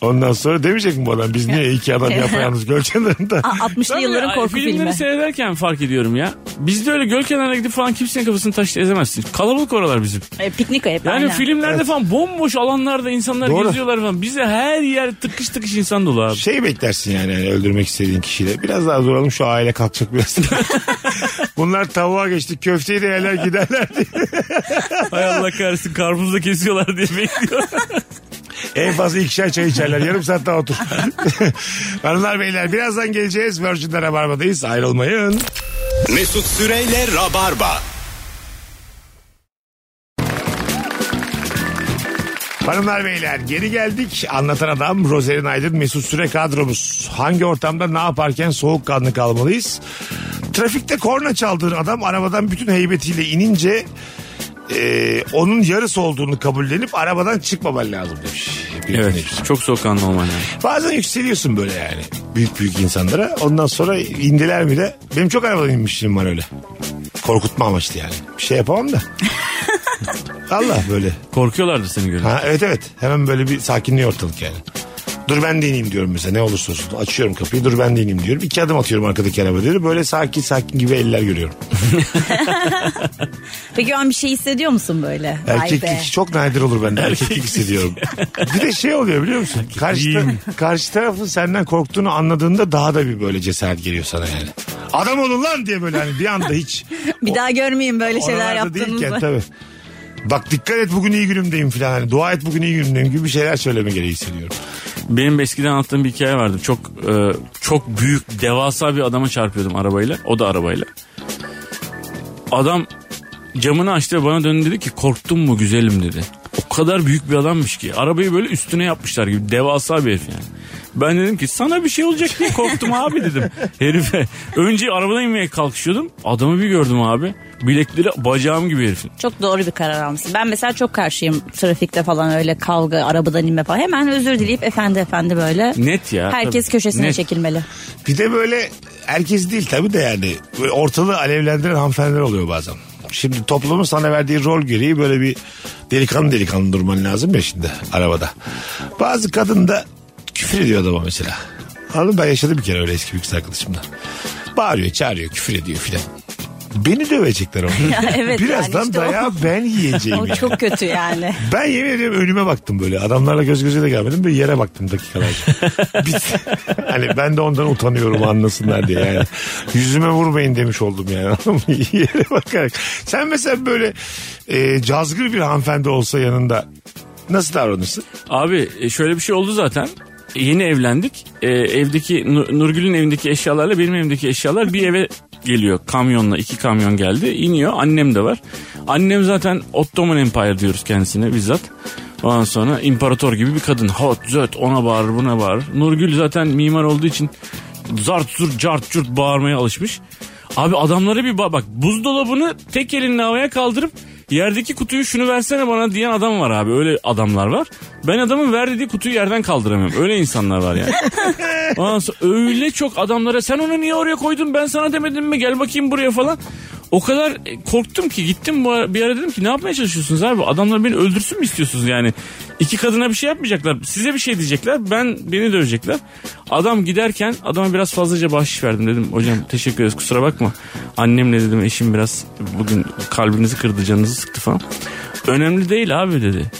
Ondan sonra demeyecek mi bu adam biz niye iki adam yapayalnız göl kenarında A- 60'lı Ben yılların ya, korku filmi. Filmleri seyrederken fark ediyorum ya. Bizde öyle göl kenarına gidip falan kimsenin kafasını taşla ezemezsin. Kalabalık oralar bizim. E, piknik hep Yani aynen. filmlerde falan bomboş alanlarda insanlar Doğru. geziyorlar falan. Bize her yer tıkış tıkış insan dolu abi. Şey beklersin yani, hani öldürmek istediğin kişiyle. Biraz daha duralım şu aile kalkacak biraz. Bunlar tavuğa geçti köfteyi de yerler giderler diye. Hay Allah kahretsin karpuzu da kesiyorlar diye bekliyorum. En fazla ikişer çay içerler. Yarım saat daha otur. Hanımlar beyler birazdan geleceğiz. Virgin'de Rabarba'dayız. Ayrılmayın. Mesut Süreyle Rabarba. Hanımlar beyler geri geldik. Anlatan adam Rozerin Aydın Mesut Süre kadromuz. Hangi ortamda ne yaparken soğukkanlı kalmalıyız? Trafikte korna çaldığın adam arabadan bütün heybetiyle inince e, onun yarısı olduğunu kabullenip arabadan çıkmaman lazım demiş. Bir dinleyicimiz. evet çok soğukkanlı olman lazım. Bazen yükseliyorsun böyle yani büyük büyük insanlara. Ondan sonra indiler mi de benim çok arabadan inmişliğim var öyle. Korkutma amaçlı yani. Bir şey yapamam da. Allah böyle. Korkuyorlardı seni görünce. Ha, evet evet. Hemen böyle bir sakinliği ortalık yani. Dur ben de ineyim diyorum mesela ne olursa olsun. Açıyorum kapıyı dur ben de ineyim diyorum. İki adım atıyorum arkadaki arabaları. Böyle sakin sakin gibi eller görüyorum. Peki o an bir şey hissediyor musun böyle? Vay be. Erkeklik çok nadir olur bende. Erkeklik hissediyorum. bir de şey oluyor biliyor musun? Karşı, ta- karşı tarafın senden korktuğunu anladığında daha da bir böyle cesaret geliyor sana yani. Adam olun lan diye böyle hani bir anda hiç. Bir daha görmeyeyim böyle şeyler Oralarda değilken yaptığınızı. tabii. Bak dikkat et bugün iyi günümdeyim falan. Hani, dua et bugün iyi günümdeyim gibi bir şeyler söyleme gereği hissediyorum. Benim eskiden anlattığım bir hikaye vardı. Çok e, çok büyük devasa bir adama çarpıyordum arabayla. O da arabayla. Adam camını açtı ve bana döndü dedi ki korktun mu güzelim dedi. O kadar büyük bir adammış ki arabayı böyle üstüne yapmışlar gibi devasa bir herif yani. Ben dedim ki sana bir şey olacak diye korktum abi dedim herife. Önce arabadan inmeye kalkışıyordum adamı bir gördüm abi. Bilekleri bacağım gibi herifin. Çok doğru bir karar almışsın. Ben mesela çok karşıyım trafikte falan öyle kavga, arabadan inme falan. Hemen özür dileyip efendi efendi böyle. Net ya. Herkes Tabii. köşesine Net. çekilmeli. Bir de böyle herkes değil tabii de yani Böyle ortalığı alevlendiren hanımefendiler oluyor bazen. Şimdi toplumun sana verdiği rol gereği böyle bir delikanlı delikanlı durman lazım ya şimdi arabada. Bazı kadın da küfür ediyor adama mesela. Anladın mı? ben yaşadım bir kere öyle eski bir kız arkadaşımla. Bağırıyor, çağırıyor, küfür ediyor filan. Beni dövecekler onlar. evet, Birazdan yani işte o- dayağı ben yiyeceğim. O yani. çok kötü yani. Ben yemin ediyorum önüme baktım böyle. Adamlarla göz göze de gelmedim de yere baktım dakikalarca. Biz, hani ben de ondan utanıyorum anlasınlar diye yani. Yüzüme vurmayın demiş oldum yani. Anladın mı? yere bakarak. Sen mesela böyle e, cazgır bir hanımefendi olsa yanında nasıl davranırsın? Abi e, şöyle bir şey oldu zaten. E, Yeni evlendik. E, evdeki Nu- Nurgül'ün evindeki eşyalarla benim evimdeki eşyalar bir eve geliyor. Kamyonla iki kamyon geldi. iniyor. Annem de var. Annem zaten Ottoman Empire diyoruz kendisine bizzat. Ondan sonra imparator gibi bir kadın. Hot, zöt, ona bağırır, buna bağırır. Nurgül zaten mimar olduğu için zart zur, cart curt bağırmaya alışmış. Abi adamlara bir bak. Bak buzdolabını tek elinle havaya kaldırıp yerdeki kutuyu şunu versene bana diyen adam var abi. Öyle adamlar var. Ben adamın ver dediği kutuyu yerden kaldıramıyorum. Öyle insanlar var yani. Ondan sonra öyle çok adamlara sen onu niye oraya koydun ben sana demedim mi gel bakayım buraya falan. O kadar e, korktum ki gittim bu ara- bir ara dedim ki ne yapmaya çalışıyorsunuz abi? Adamlar beni öldürsün mü istiyorsunuz yani? İki kadına bir şey yapmayacaklar. Size bir şey diyecekler. Ben beni dövecekler. Adam giderken adama biraz fazlaca bahşiş verdim dedim. Hocam teşekkür ederiz kusura bakma. Annemle dedim eşim biraz bugün kalbinizi kırdı canınızı sıktı falan. Önemli değil abi dedi.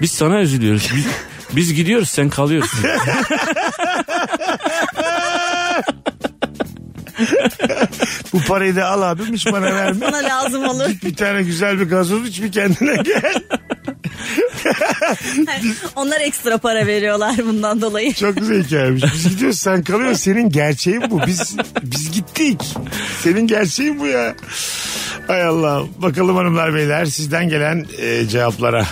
Biz sana üzülüyoruz. Biz, biz gidiyoruz sen kalıyorsun. Bu parayı da al abim hiç bana verme. Bana lazım olur. bir tane güzel bir gazoz iç bir kendine gel. Onlar ekstra para veriyorlar bundan dolayı. Çok güzel hikayemiş. Biz gidiyoruz sen kalıyorsun. Senin gerçeğin bu. Biz biz gittik. Senin gerçeğin bu ya. Ay Allah. Bakalım hanımlar beyler sizden gelen e, cevaplara.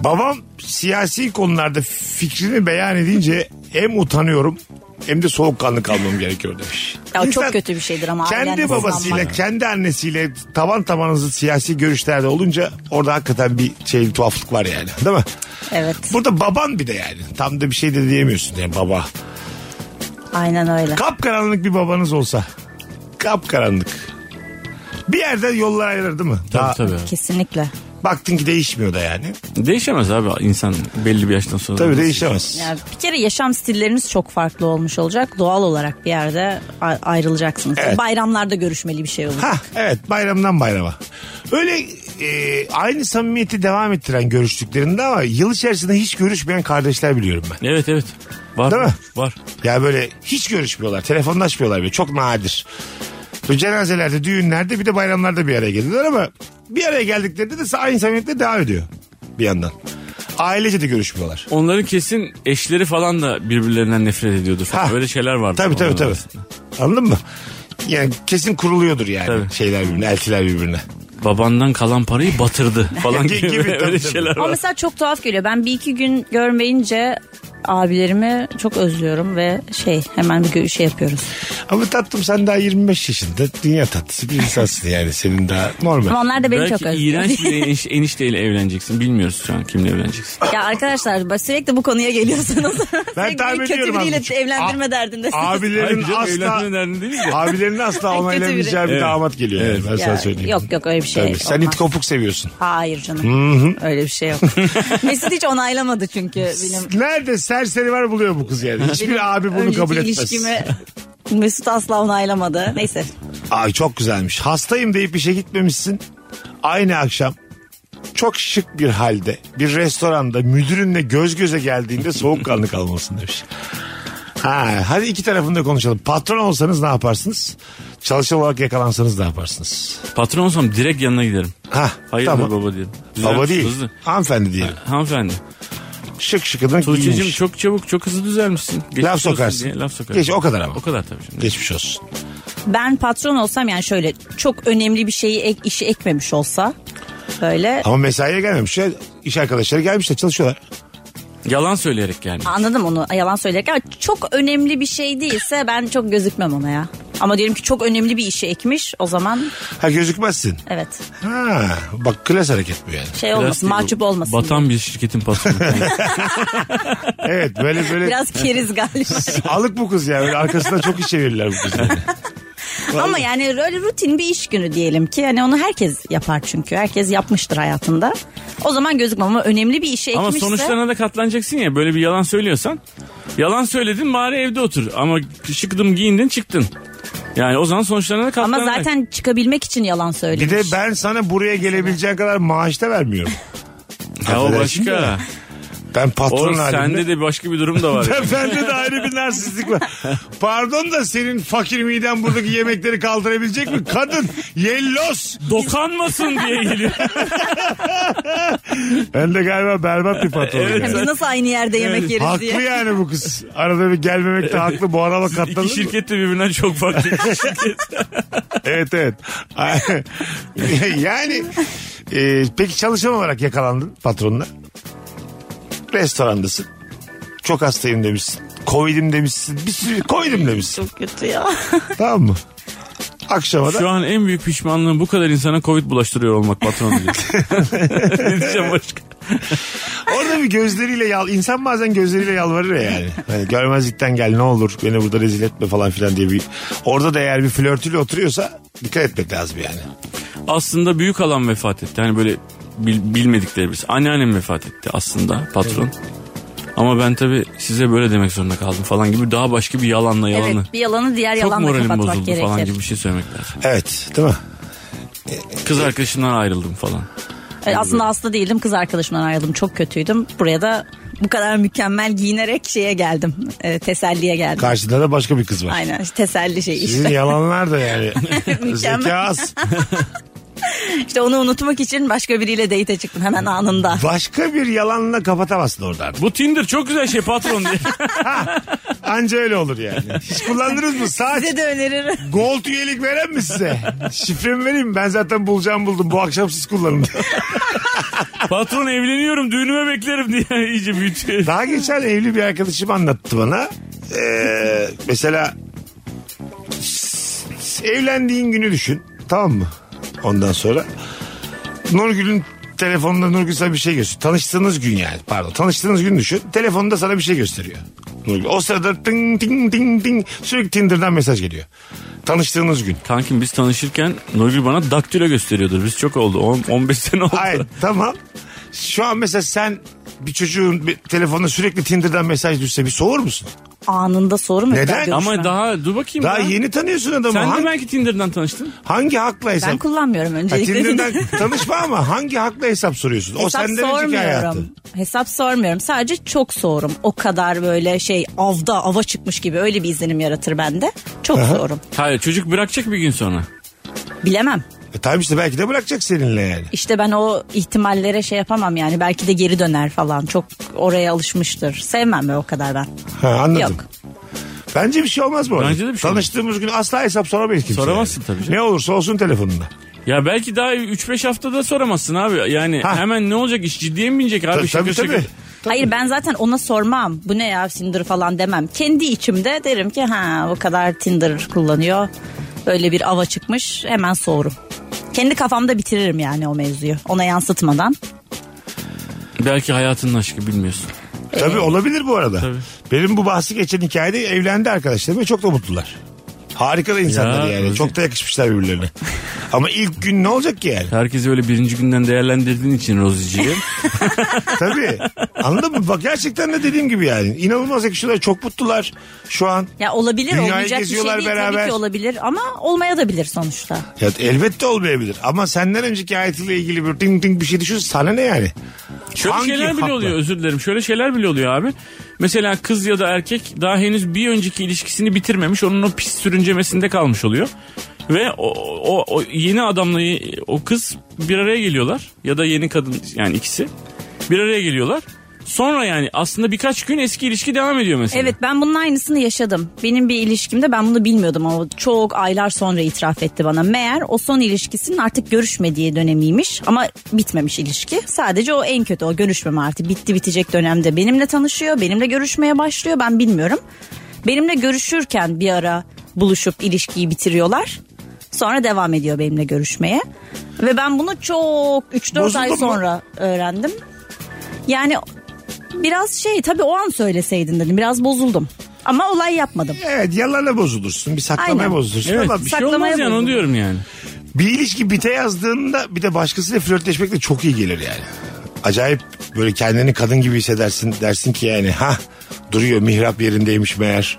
Babam siyasi konularda fikrini beyan edince hem utanıyorum hem de soğukkanlı kalmam gerekiyor demiş. Ya İnsan çok kötü bir şeydir ama ailenle Kendi babasıyla, sızlanmak. kendi annesiyle taban tabanınızı siyasi görüşlerde olunca orada hakikaten bir şey bir tuhaflık var yani. Değil mi? Evet. Burada baban bir de yani. Tam da bir şey de diyemiyorsun yani baba. Aynen öyle. Kapkaranlık bir babanız olsa. Kapkaranlık. Bir yerde yollar ayrılır değil mi? Tabii tabii. Kesinlikle. Baktın ki değişmiyor da yani. Değişemez abi insan belli bir yaştan sonra. Tabii değişemez. Ya bir kere yaşam stilleriniz çok farklı olmuş olacak. Doğal olarak bir yerde a- ayrılacaksınız. Evet. Bayramlarda görüşmeli bir şey olur. Ha evet bayramdan bayrama. Öyle e, aynı samimiyeti devam ettiren görüştüklerinde ama yıl içerisinde hiç görüşmeyen kardeşler biliyorum ben. Evet evet. Var Değil mi? Var. Ya böyle hiç görüşmüyorlar. Telefonlaşmıyorlar bile. Çok nadir. Böyle cenazelerde, düğünlerde bir de bayramlarda bir araya geliyorlar ama bir araya geldiklerinde de aynı samimiyetle devam ediyor bir yandan. Ailece de görüşmüyorlar. Onların kesin eşleri falan da birbirlerinden nefret ediyordu falan. Ha. Böyle şeyler vardı. Tabii tabii onların tabii. arasında. Anladın mı? Yani kesin kuruluyordur yani Tabii. şeyler birbirine, eltiler birbirine. Babandan kalan parayı batırdı falan Gibi, gibi, tabii, öyle tabii. şeyler Ama var. mesela çok tuhaf geliyor. Ben bir iki gün görmeyince abilerimi çok özlüyorum ve şey hemen bir gö- şey yapıyoruz. Ama tatlım sen daha 25 yaşında dünya tatlısı bir insansın yani senin daha normal. Ama onlar da beni çok Belki özlüyor. iğrenç bir eniş, enişteyle evleneceksin. Bilmiyoruz şu an kimle evleneceksin. Ya arkadaşlar bak sürekli bu konuya geliyorsunuz. Ben Sürekli tahmin kötü ediyorum biriyle azıcık. evlendirme A- derdindesiniz. Abilerin Hayır canım, asla evlenme derdinde değil de. abilerin asla Ay, kötü onaylamayacağı bir biri. damat geliyor. yani, ben Ya, sana söyleyeyim. Yok yok öyle bir şey Tabii. olmaz. Sen it kopuk seviyorsun. Hayır canım. Öyle bir şey yok. Mesut hiç onaylamadı çünkü benim Nerede serseri var buluyor bu kız yani. Hiçbir benim abi bunu önceki kabul etmez. ilişkimi Mesut asla onaylamadı. Neyse. Ay çok güzelmiş. Hastayım deyip işe gitmemişsin. Aynı akşam çok şık bir halde bir restoranda müdürünle göz göze geldiğinde soğukkanlı kalmalısın demiş. Ha, hadi iki tarafında konuşalım. Patron olsanız ne yaparsınız? Çalışan olarak yakalansanız ne yaparsınız? Patron olsam direkt yanına giderim. Ha, Hayırdır tamam. baba diyelim. Baba Düzelmiş, değil. Hızlı. Hanımefendi diyelim. Hanımefendi. Şık şıkıdan Tuğçe'cim giyinmiş. Çok... çok çabuk çok hızlı düzelmişsin. Geçmiş Laf olsun sokarsın. diye Laf sokarsın. Geç, o kadar ama. O kadar tabii şimdi. Geçmiş olsun. Ben patron olsam yani şöyle çok önemli bir şeyi ek, işi ekmemiş olsa böyle Ama mesaiye gelmemiş. ya. İş arkadaşları gelmişler çalışıyorlar. Yalan söyleyerek yani. Anladım onu yalan söyleyerek ama çok önemli bir şey değilse ben çok gözükmem ona ya. Ama diyelim ki çok önemli bir işe ekmiş o zaman Ha gözükmezsin. evet Ha, bak klas hareket bu yani. şey olmasın Plastik- mahcup olmasın. Batan bir şirketin patronu. Evet böyle böyle Biraz keriz galiba. alık bu kız ya. Böyle arkasından çok iş çevirirler bu kız. yani. Ama yani öyle rutin bir iş günü diyelim ki hani onu herkes yapar çünkü herkes yapmıştır hayatında. O zaman gözükmem ama önemli bir işe Ama ekmişse. sonuçlarına da katlanacaksın ya böyle bir yalan söylüyorsan. Yalan söyledin bari evde otur ama çıktım giyindin çıktın. Yani o zaman sonuçlarına da Ama katlanacaksın. zaten çıkabilmek için yalan söylemiş. Bir de ben sana buraya gelebileceğin kadar maaş da vermiyorum. Ya o Affedersin de başka. Ben patron O halimde. sende de başka bir durum da var. Ben- Bende de ayrı bir narsistlik var. Pardon da senin fakir miden buradaki yemekleri kaldırabilecek mi? Kadın yellos. Dokanmasın diye geliyor. Ben de galiba berbat bir patron. Evet, Hani Biz nasıl aynı yerde yemek yeriz Haklı diye. yani bu kız. Arada bir gelmemek de haklı. Bu araba katlanır İki mı? şirket de birbirinden çok farklı. İki şirket. Evet evet. yani e, peki çalışan olarak yakalandın patronla. Restorandasın. Çok hastayım demişsin. Covid'im demişsin. Bir sürü Covid'im demişsin. Çok kötü ya. tamam mı? Akşama da Şu an en büyük pişmanlığım bu kadar insana Covid bulaştırıyor olmak patron diye. ne diyeceğim başka? orada bir gözleriyle yal insan bazen gözleriyle yalvarır ya yani. Hani görmezlikten gel ne olur beni burada rezil etme falan filan diye bir orada da eğer bir flörtüyle oturuyorsa dikkat etmek lazım yani. aslında büyük alan vefat etti. Hani böyle bil- bilmediklerimiz. Anneannem vefat etti aslında patron. Ama ben tabii size böyle demek zorunda kaldım falan gibi daha başka bir yalanla yalanı. Evet bir yalanı diğer Çok yalanla moralim bozuldu kapatmak gerekir. falan gibi bir şey söylemek lazım. Evet değil mi? Kız arkadaşımdan ayrıldım falan. E, Aslında hasta değildim kız arkadaşımdan ayrıldım çok kötüydüm. Buraya da bu kadar mükemmel giyinerek şeye geldim e, teselliye geldim. Karşında da başka bir kız var. Aynen işte teselli şey Sizin işte. yalanlar da yani. Mükemmel. Zeka az. İşte onu unutmak için başka biriyle date çıktım hemen anında. Başka bir yalanla kapatamazsın orada artık. Bu Tinder çok güzel şey patron diye. Anca öyle olur yani. Hiç kullandınız mı? Saat Size de öneririm. gold üyelik veren mi size? Şifremi vereyim mi? ben zaten bulacağım buldum. Bu akşam siz kullanın. patron evleniyorum düğünüme beklerim diye iyice şey. büyütüyor. Daha geçen evli bir arkadaşım anlattı bana. Ee, mesela s- s- evlendiğin günü düşün. Tamam mı? Ondan sonra Nurgül'ün telefonunda Nurgül sana bir şey gösteriyor. Tanıştığınız gün yani pardon. Tanıştığınız gün düşün. Telefonunda sana bir şey gösteriyor. Nurgül. O sırada ting ting ting ting sürekli Tinder'dan mesaj geliyor. Tanıştığınız gün. Kankim biz tanışırken Nurgül bana daktilo gösteriyordu. Biz çok oldu. On- 15 sene oldu. Hayır tamam. Şu an mesela sen bir çocuğun bir telefonuna sürekli Tinder'dan mesaj düşse bir soğur musun? Anında soru mu? Neden? Ben görüşmem. Ama daha dur bakayım. Daha ya. yeni tanıyorsun adamı. Sen hangi, de belki Tinder'dan tanıştın. hangi hakla hesap? Ben kullanmıyorum Ha, öncelikle. Tinder'dan tanışma ama hangi hakla hesap soruyorsun? o Hesap senden önceki hayatı. sormuyorum. Hesap sormuyorum. Sadece çok sorum. O kadar böyle şey avda ava çıkmış gibi öyle bir izlenim yaratır bende. Çok sorum. Hayır çocuk bırakacak bir gün sonra. Bilemem. E, tamam işte belki de bırakacak seninle yani. İşte ben o ihtimallere şey yapamam yani. Belki de geri döner falan. Çok oraya alışmıştır. Sevmem ben o kadar ben. Ha, anladım. Yok. Bence bir şey olmaz bu arada. Bence de bir şey Tanıştığımız gün asla hesap soramayız kimseye. Soramazsın tabii canım. Ne olursa olsun telefonunda. Ya belki daha 3-5 haftada soramazsın abi. Yani Ha. hemen ne olacak iş ciddiye mi binecek abi? Tabii Şaka tabii. şaka. tabii. Hayır ben zaten ona sormam. Bu ne ya Tinder falan demem. Kendi içimde derim ki ha o kadar Tinder kullanıyor. Böyle bir ava çıkmış hemen sorum. Kendi kafamda bitiririm yani o mevzuyu. Ona yansıtmadan. Belki hayatının aşkı bilmiyorsun. E. Tabii olabilir bu arada. Benim bu bahsi geçen hikayede evlendi arkadaşlarım ve çok da mutlular. Harika da insanlar Ya, yani. öyle. Çok da yakışmışlar birbirlerine. Ama ilk gün ne olacak ki yani? Herkesi öyle birinci günden değerlendirdiğin için Rozi'ciğim. Tabii. Anladın mı? Bak gerçekten de dediğim gibi yani. İnanılmaz yakışıyorlar. Çok mutlular şu an. Ya olabilir Dünyayı olmayacak bir şey geziyorlar değil beraber. tabii ki olabilir ama olmaya da bilir sonuçta. Ya elbette olmayabilir. Ama senden önceki hayatıyla ilgili bir ding ding bir şey düşün. Sana ne yani? Şöyle Hangi şeyler bile hakla? oluyor özür dilerim. Şöyle şeyler bile oluyor abi. Mesela kız ya da erkek daha henüz bir önceki ilişkisini bitirmemiş. Onun o pis sürüncemesinde kalmış oluyor. Ve o, o, o yeni adamla y- o kız bir araya geliyorlar. Ya da yeni kadın yani ikisi. Bir araya geliyorlar. Sonra yani aslında birkaç gün eski ilişki devam ediyor mesela. Evet ben bunun aynısını yaşadım. Benim bir ilişkimde ben bunu bilmiyordum ama çok aylar sonra itiraf etti bana. Meğer o son ilişkisinin artık görüşmediği dönemiymiş ama bitmemiş ilişki. Sadece o en kötü o görüşmeme artık bitti bitecek dönemde benimle tanışıyor, benimle görüşmeye başlıyor ben bilmiyorum. Benimle görüşürken bir ara buluşup ilişkiyi bitiriyorlar. Sonra devam ediyor benimle görüşmeye. Ve ben bunu çok 3-4 ay Bozuldun mu? sonra öğrendim. Yani biraz şey tabii o an söyleseydin dedim biraz bozuldum. Ama olay yapmadım. Evet yalanla bozulursun. Bir saklamaya Aynen. bozulursun. Evet, Ama bir bir, şey saklamaya olmaz yani onu buldum. diyorum yani. bir ilişki bite yazdığında bir de başkasıyla flörtleşmek de çok iyi gelir yani. Acayip böyle kendini kadın gibi hissedersin. Dersin ki yani ha duruyor mihrap yerindeymiş meğer.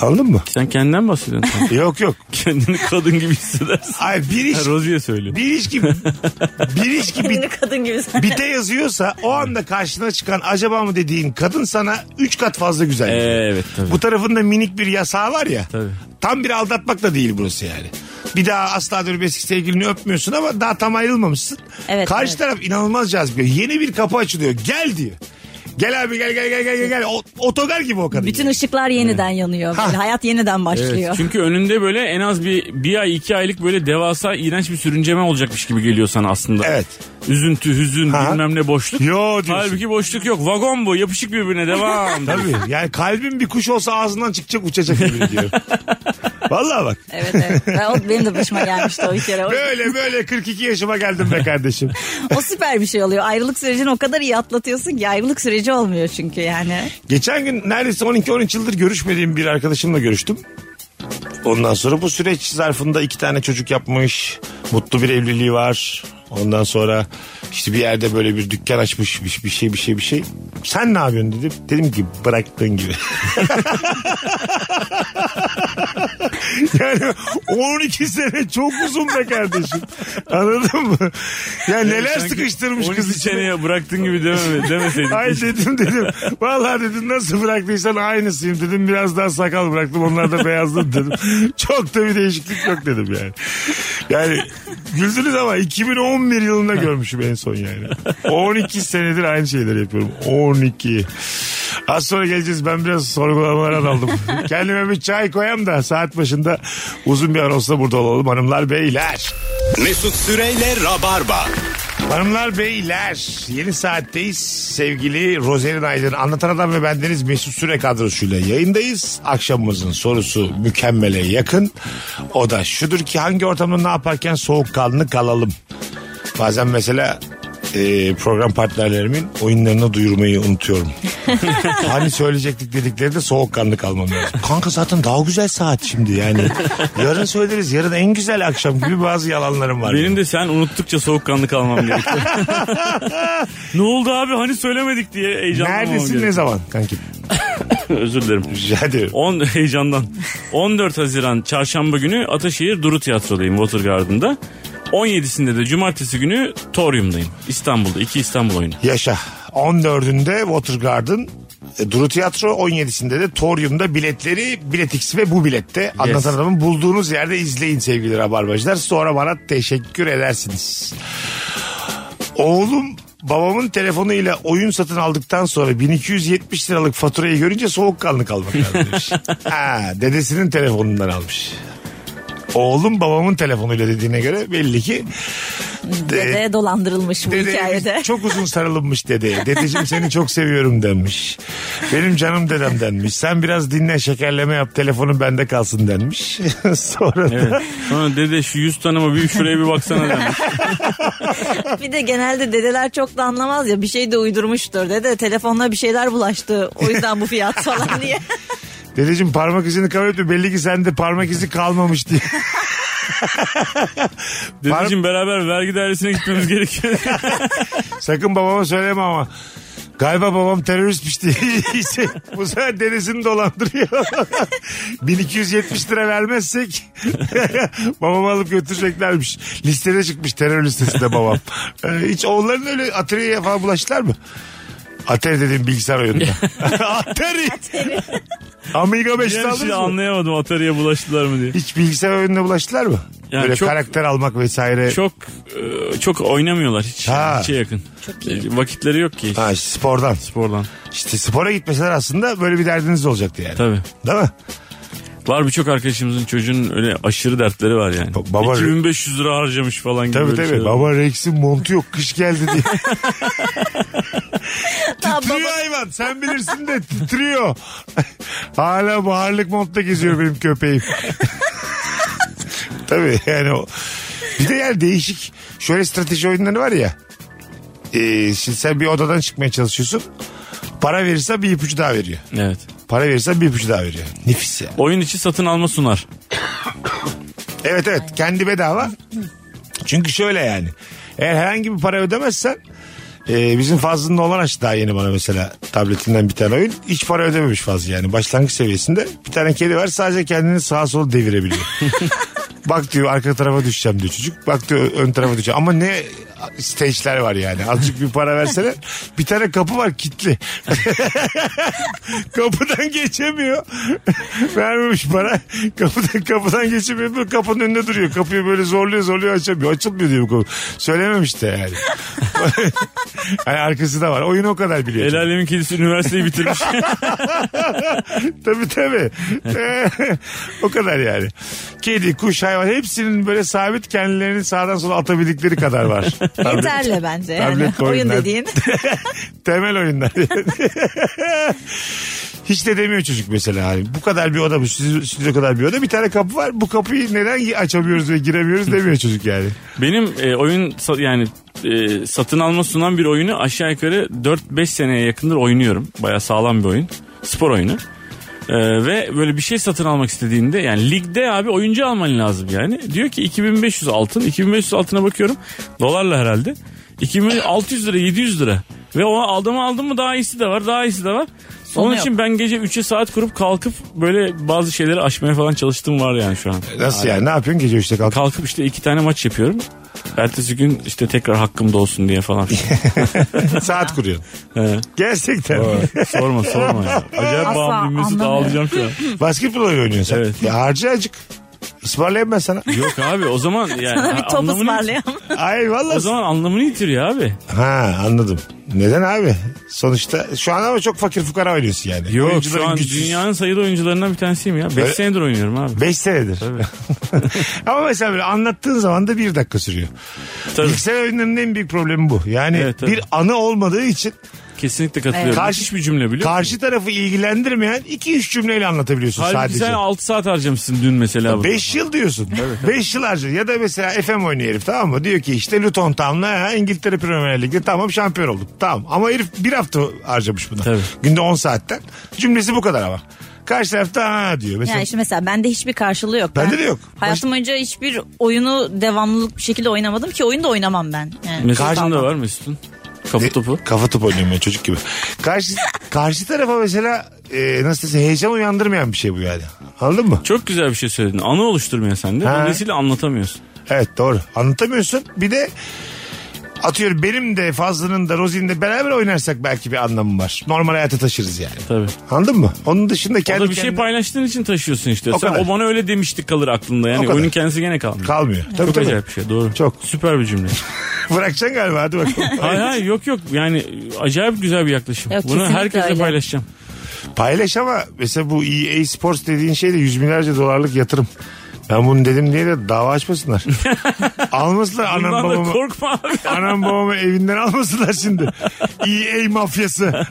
Anladın mı? Sen kendinden bahsediyorsun. sen. yok yok. Kendini kadın gibi hissedersin. Ay bir iş, Ha, Rozi'ye söylüyor. bir ilişki bir ilişki bit, kadın gibi. bite yazıyorsa o anda karşına çıkan acaba mı dediğin kadın sana 3 kat fazla güzel. geliyor. Evet tabii. Bu tarafında minik bir yasağı var ya. Tabii. Tam bir aldatmak da değil burası yani. Bir daha asla dönüp eski sevgilini öpmüyorsun ama daha tam ayrılmamışsın. Evet, Karşı evet. taraf inanılmaz cazip. Yeni bir kapı açılıyor. Gel diyor. Gel abi gel gel gel gel gel. gel. O, otogar gibi o kadın. Bütün ışıklar yeniden yanıyor. Böyle hayat yeniden Evet, başlıyor. çünkü önünde böyle en az bir, bir ay iki aylık böyle devasa iğrenç bir sürünceme olacakmış gibi geliyor sana aslında. Evet. Üzüntü, hüzün, Ha. bilmem ne boşluk. Yo diyorsun. Halbuki boşluk yok. Vagon bu. Yapışık birbirine devam. Tabii. Yani kalbin bir kuş olsa ağzından çıkacak uçacak gibi diyor. Vallahi bak. Evet evet. Ben- o- benim de başıma gelmişti o bir kere. E O, Böyle böyle 42 yaşıma geldim be kardeşim. o süper bir şey oluyor. Ayrılık sürecini o kadar iyi atlatıyorsun ki ayrılık süreci olmuyor çünkü yani. Geçen gün neredeyse 12-13 yıldır görüşmediğim bir arkadaşımla görüştüm. Ondan sonra bu süreç zarfında iki tane çocuk yapmış. Mutlu bir evliliği var. Ondan sonra işte bir yerde böyle bir dükkan açmış bir, bir şey bir şey bir şey. Sen ne yapıyorsun dedim. Dedim ki bıraktığın gibi. yani 12 sene çok uzun be kardeşim. Anladın mı? Ya neler Sanki sıkıştırmış 12 kız içine. seneye bıraktığın gibi dememe, demeseydin. Ay dedim dedim. Vallahi dedim nasıl bıraktıysan aynısıyım dedim. Biraz daha sakal bıraktım. Onlar da beyazladı dedim. Çok da bir değişiklik yok dedim yani. Yani güldünüz ama 2011 yılında görmüşüm en son yani. 12 senedir aynı şeyleri yapıyorum. 12. Az sonra geleceğiz. Ben biraz sorgulamalara daldım. Kendime bir çay koyayım da saat başında uzun bir anonsla burada olalım hanımlar beyler. Mesut Süreyle Rabarba. Hanımlar beyler yeni saatteyiz sevgili Rozerin Aydın anlatan adam ve bendeniz Mesut Süre kadrosuyla yayındayız. Akşamımızın sorusu mükemmele yakın o da şudur ki hangi ortamda ne yaparken soğukkanlı kalalım. Bazen mesela e, program partnerlerimin oyunlarına duyurmayı unutuyorum. hani söyleyecektik dedikleri de soğukkanlı kalmam lazım. Kanka zaten daha güzel saat şimdi yani. Yarın söyleriz yarın en güzel akşam gibi bazı yalanlarım var. Benim de sen unuttukça soğukkanlı kalmam gerekiyor. ne oldu abi hani söylemedik diye heyecanlanmam Neredesin ne gerekiyor. zaman kankim? Özür dilerim. Rica ederim. 10 heyecandan. 14 Haziran çarşamba günü Ataşehir Duru Tiyatro'dayım Watergarden'da. 17'sinde de cumartesi günü Torium'dayım. İstanbul'da. iki İstanbul oyunu. Yaşa. 14'ünde Watergarden e, Duru Tiyatro 17'sinde de Torium'da biletleri biletiksi ve bu bilette anlatan adamın bulduğunuz yerde izleyin sevgili rabarbacılar. Sonra bana teşekkür edersiniz. Oğlum babamın telefonuyla oyun satın aldıktan sonra 1270 liralık faturayı görünce soğukkanlı kalmak lazım demiş. ha, dedesinin telefonundan almış. Oğlum babamın telefonuyla dediğine göre belli ki Dede dolandırılmış bu Dedeye hikayede. çok uzun sarılınmış dedeye. Dedeciğim seni çok seviyorum denmiş. Benim canım dedem denmiş. Sen biraz dinle şekerleme yap telefonun bende kalsın denmiş. Sonra da Evet. Sonra dede şu yüz tanıma bir şuraya bir baksana demiş. Bir de genelde dedeler çok da anlamaz ya bir şey de uydurmuştur. Dede telefonla bir şeyler bulaştı o yüzden bu fiyat falan diye. dedeciğim parmak izini kabul etme belli ki sende parmak izi kalmamış diye. Dedeciğim beraber vergi dairesine gitmemiz gerekiyor. Sakın babama söyleme ama. Galiba babam teröristmiş diye. İşte Bu sefer dedesini dolandırıyor. 1270 lira vermezsek babamı alıp götüreceklermiş. Listede çıkmış terör listesinde babam. Ee, hiç oğulların öyle atölyeye falan bulaştılar mı? Atari dediğim bilgisayar oyununda. Atari. Amiga 5'te Yani aldınız şimdi mı? anlayamadım Atari'ye bulaştılar mı diye. Hiç bilgisayar oyununa bulaştılar mı? Yani Böyle çok- karakter almak vesaire. Çok e, çok oynamıyorlar hiç. Ha. Hiçe yakın. E, Vakitleri yok ki. Ha, işte spordan. Spordan. İşte spora gitmeseler aslında böyle bir derdiniz olacaktı yani. Tabii. Değil mi? Var birçok arkadaşımızın çocuğunun öyle aşırı dertleri var yani. Ba- baba- 2500 lira harcamış falan gibi. Tabii böyle şey tabii. şeyler. Baba Rex'in montu yok. Kış geldi diye. titriyor hayvan. Sen bilirsin de titriyor. Hala baharlık montta geziyor benim köpeğim. tabii yani o. Bir de yani değişik. Şöyle strateji oyunları var ya. Ee, şimdi sen bir odadan çıkmaya çalışıyorsun. Para verirse bir ipucu daha veriyor. Evet. Para verirse bir ipucu daha veriyor. Nefis ya. Oyun içi satın alma sunar. Evet evet kendi bedava. Çünkü şöyle yani. Eğer herhangi bir para ödemezsen e, bizim Fazlı'nın olan açtı daha yeni bana mesela tabletinden bir tane oyun. Hiç para ödememiş Fazlı yani başlangıç seviyesinde. Bir tane kedi var sadece kendini sağa sola devirebiliyor. Bak diyor arka tarafa düşeceğim diyor çocuk. Bak diyor ön tarafa düşeceğim. Ama ne stage'ler var yani. Azıcık bir para versene. Bir tane kapı var kilitli. kapıdan geçemiyor. Vermemiş para. Kapıdan, kapıdan geçemiyor. Böyle kapının önünde duruyor. Kapıyı böyle zorluyor zorluyor açamıyor. Açılmıyor diyor bu kapı. Söylememiş de yani. yani arkası da var. Oyun o kadar biliyor. El alemin kedisi üniversiteyi bitirmiş. Tabii tabii. o kadar yani. Kedi, kuş, hayvan hepsinin böyle sabit kendilerini sağdan sola atabildikleri kadar var. Yeterli bence yani. Tablet Oyun oyunlar. dediğin. Temel oyunlar. Hiç de demiyor çocuk mesela. Hani bu kadar bir oda bu stüdyo stüdyo kadar bir oda bir tane kapı var. Bu kapıyı neden açamıyoruz ve giremiyoruz demiyor çocuk yani. Benim e, oyun sa- yani e, satın alma sunan bir oyunu aşağı yukarı 4-5 seneye yakındır oynuyorum. Baya sağlam bir oyun. Spor oyunu. E, ve böyle bir şey satın almak istediğinde yani ligde abi oyuncu alman lazım yani. Diyor ki 2500 altın. 2500 altına bakıyorum. Dolarla herhalde. 2600 lira 700 lira. Ve o adamı aldım mı daha iyisi de var daha iyisi de var. Sonu Onun yok. için ben gece 3'e saat kurup kalkıp böyle bazı şeyleri aşmaya falan çalıştığım var yani şu an. Nasıl yani ne yapıyorsun gece üçte kalk. Kalkıp işte iki tane maç yapıyorum. Ertesi gün işte tekrar hakkımda olsun diye falan. Saat kuruyorsun. He. Gerçekten. sorma sorma ya. Acayip Asla bağımlıyım Mesut anlamıyorum. ağlayacağım şu an. Basketbol oyunu oynuyorsun sen. Evet. Ya harca acık. Ismarlayayım ben sana. Yok abi o zaman yani. Bana bir top anlamını- ısmarlayalım. Ay vallahi. O zaman anlamını yitiriyor abi. Ha anladım. Neden abi? Sonuçta şu an ama çok fakir fukara oynuyorsun yani. Yok şu an dünyanın sayılı oyuncularından bir tanesiyim ya. 5 Böyle- senedir oynuyorum abi. 5 senedir. ama mesela böyle anlattığın zaman da bir dakika sürüyor. Tabii. Bilgisayar oyunlarının en büyük problemi bu. Yani Evet, tabii. bir anı olmadığı için Kesinlikle katılıyorum. Karşı- Müthiş bir cümle biliyor musun? Karşı tarafı ilgilendirmeyen 2-3 cümleyle anlatabiliyorsun Halbuki sen sadece. 6 saat harcamışsın dün mesela. burada. 5 yıl diyorsun. 5 yıl harcıyor. Ya da mesela FM oynuyor herif tamam mı? Diyor ki işte Luton Town'la ha, İngiltere Premier Lig'de tamam şampiyon olduk. Tamam ama herif bir hafta harcamış buna. Tabii. Günde 10 saatten. Cümlesi bu kadar ama. Karşı tarafta ha diyor. Mesela Yani işte mesela bende hiçbir karşılığı yok. Bende de yok. Hayatım boyunca hiçbir oyunu devamlılık bir şekilde oynamadım ki oyunu da oynamam ben. Yani Mesajın da kalmam. var Mesut'un. Kapı topu. Kafa topu oynuyorum ben çocuk gibi. Karşı, karşı tarafa mesela e, nasıl desem heyecan uyandırmayan bir şey bu yani. Anladın mı? Çok güzel bir şey söyledin. Anı oluşturmuyor sende. Ha. Dolayısıyla anlatamıyorsun. Evet doğru. Anlatamıyorsun. Bir de atıyorum benim de Fazlı'nın da Rozi'nin de beraber oynarsak belki bir anlamı var. Normal hayata taşırız yani. Tabii. Anladın mı? Onun dışında O kendi da bir şey kendine paylaştığın için taşıyorsun işte. O Sen kadar. o bana öyle demiştik kalır aklında. O Yani kadar. oyunun kendisi gene kalmıyor. kalmıyor. Tabii Çok tabii. acayip bir şey doğru. Çok. Süper bir cümle. Bırakacaksın galiba hadi bakalım. hayır hayır yok yok yani acayip güzel bir yaklaşım. Yok, Bunu kesinlikle herkesle öyle. paylaşacağım. Paylaş ama mesela bu EA Sports dediğin şey de yüz binlerce dolarlık yatırım. Ben bunu dedim diye de dava açmasınlar. Almasınlar anam Bundan da babamı. korkma abi. Anam babamı evinden almasınlar şimdi. EA mafyası.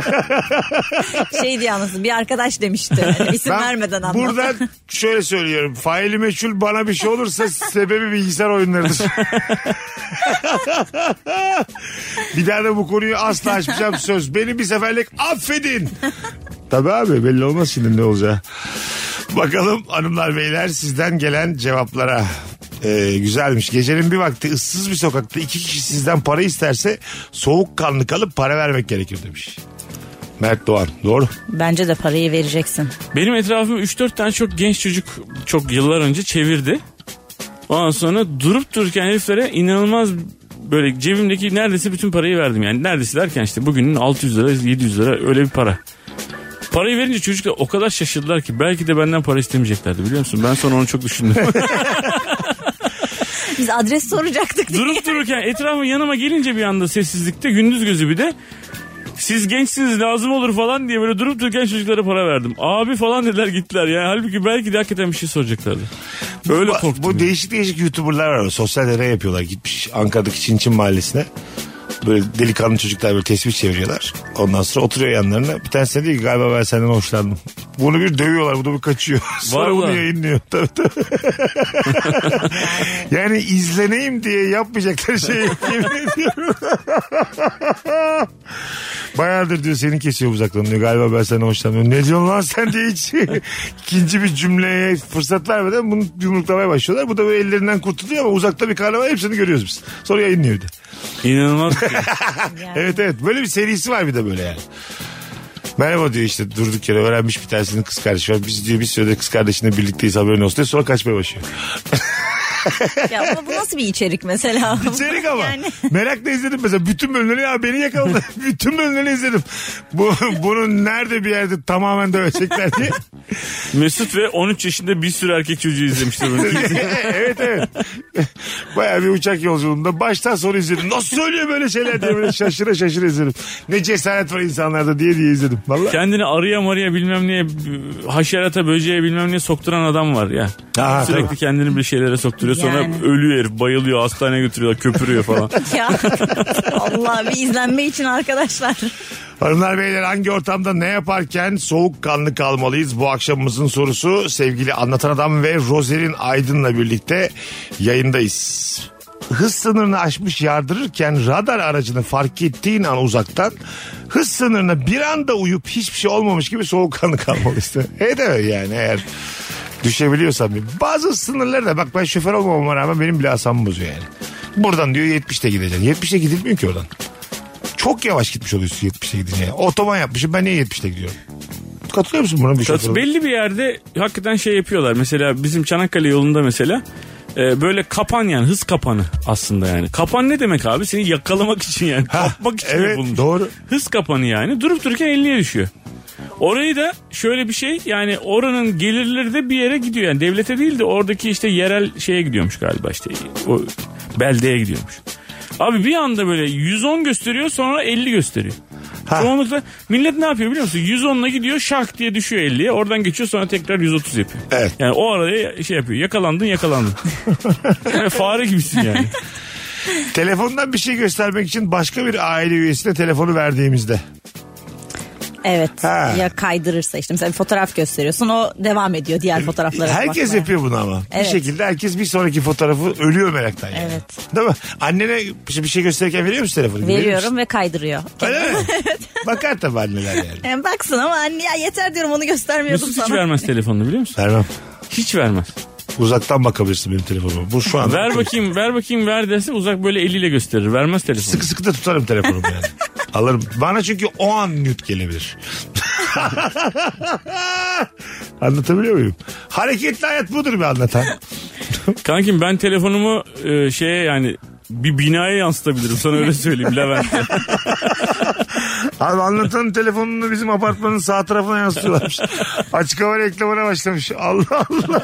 Şey diye anlasın bir arkadaş demişti. Hani isim Ben vermeden anlat. Buradan şöyle söylüyorum. Faili meçhul bana bir şey olursa sebebi bilgisayar oyunlarıdır. bir daha da bu konuyu asla açmayacağım söz. Beni bir seferlik affedin. Tabii abi belli olmaz şimdi ne olacağı. Bakalım hanımlar beyler sizden gelen cevaplara. Ee, güzelmiş. Gecenin bir vakti ıssız bir sokakta iki kişi sizden para isterse soğukkanlı kalıp para vermek gerekir demiş. Mert Doğan. Doğru. Bence de parayı vereceksin. Benim etrafım 3-4 tane çok genç çocuk çok yıllar önce çevirdi. Ondan sonra durup dururken heriflere inanılmaz böyle cebimdeki neredeyse bütün parayı verdim. Yani neredeyse derken işte bugünün 600 lira 700 lira öyle bir para. Parayı verince çocuklar o kadar şaşırdılar ki belki de benden para istemeyeceklerdi biliyor musun? Ben sonra onu çok düşündüm. Biz adres soracaktık diye. durup dururken etrafım yanıma gelince bir anda sessizlikte gündüz gözü bir de siz gençsiniz lazım olur falan diye böyle durup dururken çocuklara para verdim. Abi falan dediler gittiler yani halbuki belki de hakikaten bir şey soracaklardı. Öyle Bu- korktum. Bu ya. değişik değişik YouTuber'lar var. Sosyal deney yapıyorlar. Gitmiş Ankara'daki Çin Çin mahallesine. Böyle delikanlı çocuklar böyle tespih çeviriyorlar. Ondan sonra oturuyor yanlarına. Bir tanesi de diyor ki galiba ben senden hoşlandım. Bunu bir dövüyorlar. Bu da bir kaçıyor. sonra bunu Vallahi. yayınlıyor. Tabii, tabii. yani izleneyim diye yapmayacakları şey yemin ediyorum. Bayağıdır diyor seni kesiyor uzaktan diyor. Galiba ben senden hoşlanmıyorum. Ne diyorsun lan sen diye hiç ikinci bir cümleye fırsat vermeden bunu yumruklamaya başlıyorlar. Bu da böyle ellerinden kurtuluyor ama uzakta bir karnaval hepsini görüyoruz biz. Sonra yayınlıyor bir de. İnanılmaz. bir şey. Evet evet böyle bir serisi var bir de böyle yani. Merhaba diyor işte durduk yere öğrenmiş bir tanesinin kız kardeşi var. Biz diyor bir sürede kız kardeşinle birlikteyiz haberin olsun diyor. Sonra kaçmaya başlıyor. Ya ama bu nasıl bir içerik mesela? İçerik ama. Yani Merakla izledim mesela. Bütün bölümleri ya beni yakaladı. Bütün bölümleri izledim. Bu, bunun nerede bir yerde tamamen dövecekler diye. Mesut ve 13 yaşında bir sürü erkek çocuğu izlemişti bunu. evet evet. Baya bir uçak yolculuğunda baştan sona izledim. Nasıl söylüyor böyle şeyler diye böyle şaşıra şaşıra izledim. Ne cesaret var insanlarda diye diye izledim. Vallahi. Kendini arıya marıya bilmem neye haşerata böceğe bilmem neye sokturan adam var ya. Aha, Sürekli tabii. kendini bir şeylere sokturuyor sonra Yani. ölüyor herif bayılıyor hastaneye götürüyorlar köpürüyor falan. ya. Allah bir izlenme için arkadaşlar. Hanımlar beyler hangi ortamda ne yaparken soğukkanlı kalmalıyız? Bu akşamımızın sorusu sevgili Anlatan Adam ve Rozerin Aydın'la birlikte yayındayız. Hız sınırını aşmış yardırırken radar aracını fark ettiğin an uzaktan hız sınırına bir anda uyup hiçbir şey olmamış gibi soğukkanlı kalmalıyız. evet evet yani eğer düşebiliyorsam. Bazı sınırlar da bak ben şoför olmamama rağmen benim bile asabımı bozuyor yani. Buradan diyor 70'te gideceksin. 70'te gidilmiyor ki oradan çok yavaş gitmiş oluyorsun 70'e gidince. Yani Otoban yapmışım ben niye 70'te gidiyorum? Katılıyor musun buna bir şey? Tat- şoför? belli bir yerde hakikaten şey yapıyorlar. Mesela bizim Çanakkale yolunda mesela e, böyle kapan yani hız kapanı aslında yani. Kapan ne demek abi? Seni yakalamak için yani. Ha, Kapmak için evet, yapılmış. doğru. Hız kapanı yani. Durup dururken 50'ye düşüyor. Orayı da şöyle bir şey yani oranın gelirleri de bir yere gidiyor. Yani devlete değil de oradaki işte yerel şeye gidiyormuş galiba işte o beldeye gidiyormuş. Abi bir anda böyle 110 gösteriyor sonra 50 gösteriyor. Ha. Çoğunlukla millet ne yapıyor biliyor musun? 110'la gidiyor şak diye düşüyor 50'ye. Oradan geçiyor sonra tekrar 130 yapıyor. Evet. Yani o araya şey yapıyor. Yakalandın yakalandın. yani fare gibisin yani. Telefondan bir şey göstermek için başka bir aile üyesine telefonu verdiğimizde. Evet. Ha. Ya kaydırırsa işte mesela bir fotoğraf gösteriyorsun o devam ediyor diğer fotoğraflara Herkes bakmaya. yapıyor bunu ama. Evet. Bir şekilde herkes bir sonraki fotoğrafı ölüyor meraktan. Yani. Evet. Değil mi? Annene bir şey gösterirken veriyor musun telefonu? Veriyor musun? Veriyorum ve kaydırıyor. Öyle mi? Bakar tabii anneler yani. Yani baksın ama anne ya yeter diyorum onu göstermiyordum Mesut sana. hiç vermez telefonunu biliyor musun? Vermem. Hiç vermez. Uzaktan bakabilirsin benim telefonuma. Bu şu an. Ver bakayım ver bakayım ver derse uzak böyle eliyle gösterir. Vermez telefonu. Sıkı sıkı da tutarım telefonumu yani. Alırım. Bana çünkü o an nüt gelebilir. Anlatabiliyor muyum? Hareketli hayat budur bir anlatan. Kankim ben telefonumu e, şeye yani bir binaya yansıtabilirim sana öyle söyleyeyim Levent'e. Abi anlatanın telefonunu bizim apartmanın sağ tarafına yansıtıyorlarmış. Açık hava reklamına başlamış. Allah Allah.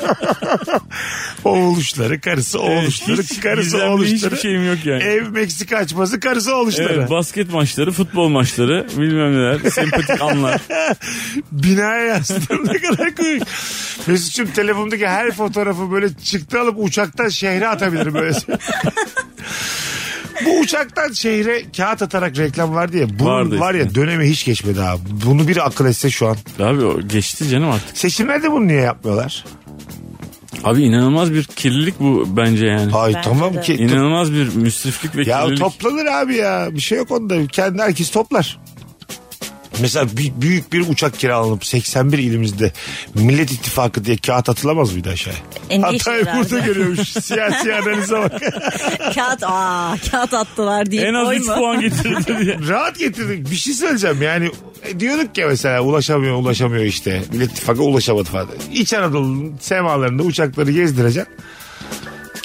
oğuluşları, karısı oğuluşları, hiç karısı gizemli oğuluşları. hiçbir şeyim yok yani. Ev Meksika açması, karısı oğuluşları. Evet, basket maçları, futbol maçları bilmem neler. Sempatik anlar. Binaya yansıdım ne kadar komik. Mesut'cum telefonumdaki her fotoğrafı böyle çıktı alıp uçaktan şehre atabilirim böyle. Bu uçaktan şehre kağıt atarak reklam vardı ya. Bunun Vardı var ya eskiden. dönemi hiç geçmedi abi. Bunu bir akıl etse şu an. Abi o geçti canım artık. Seçimlerde bunu niye yapmıyorlar? Abi inanılmaz bir kirlilik bu bence yani. Ay Bence tamam de. ki. İnanılmaz bir müsriflik ve Ya kirlilik. toplanır abi ya. Bir şey yok onda. Kendi herkes toplar. Mesela bi- büyük bir uçak kiralanıp 81 ilimizde Millet İttifakı diye kağıt atılamaz mıydı aşağıya? E, niye Hatay'ı şimdi burada abi? görüyormuş. Siyasi analize bak. kağıt aa kağıt attılar diye. en az koyma. 3 puan getirdi diye. Rahat getirdik. Bir şey söyleyeceğim yani. e, diyorduk ya mesela ulaşamıyor ulaşamıyor işte. Millet İttifakı ulaşamadı falan. İç Anadolu'nun semalarında uçakları gezdireceksin.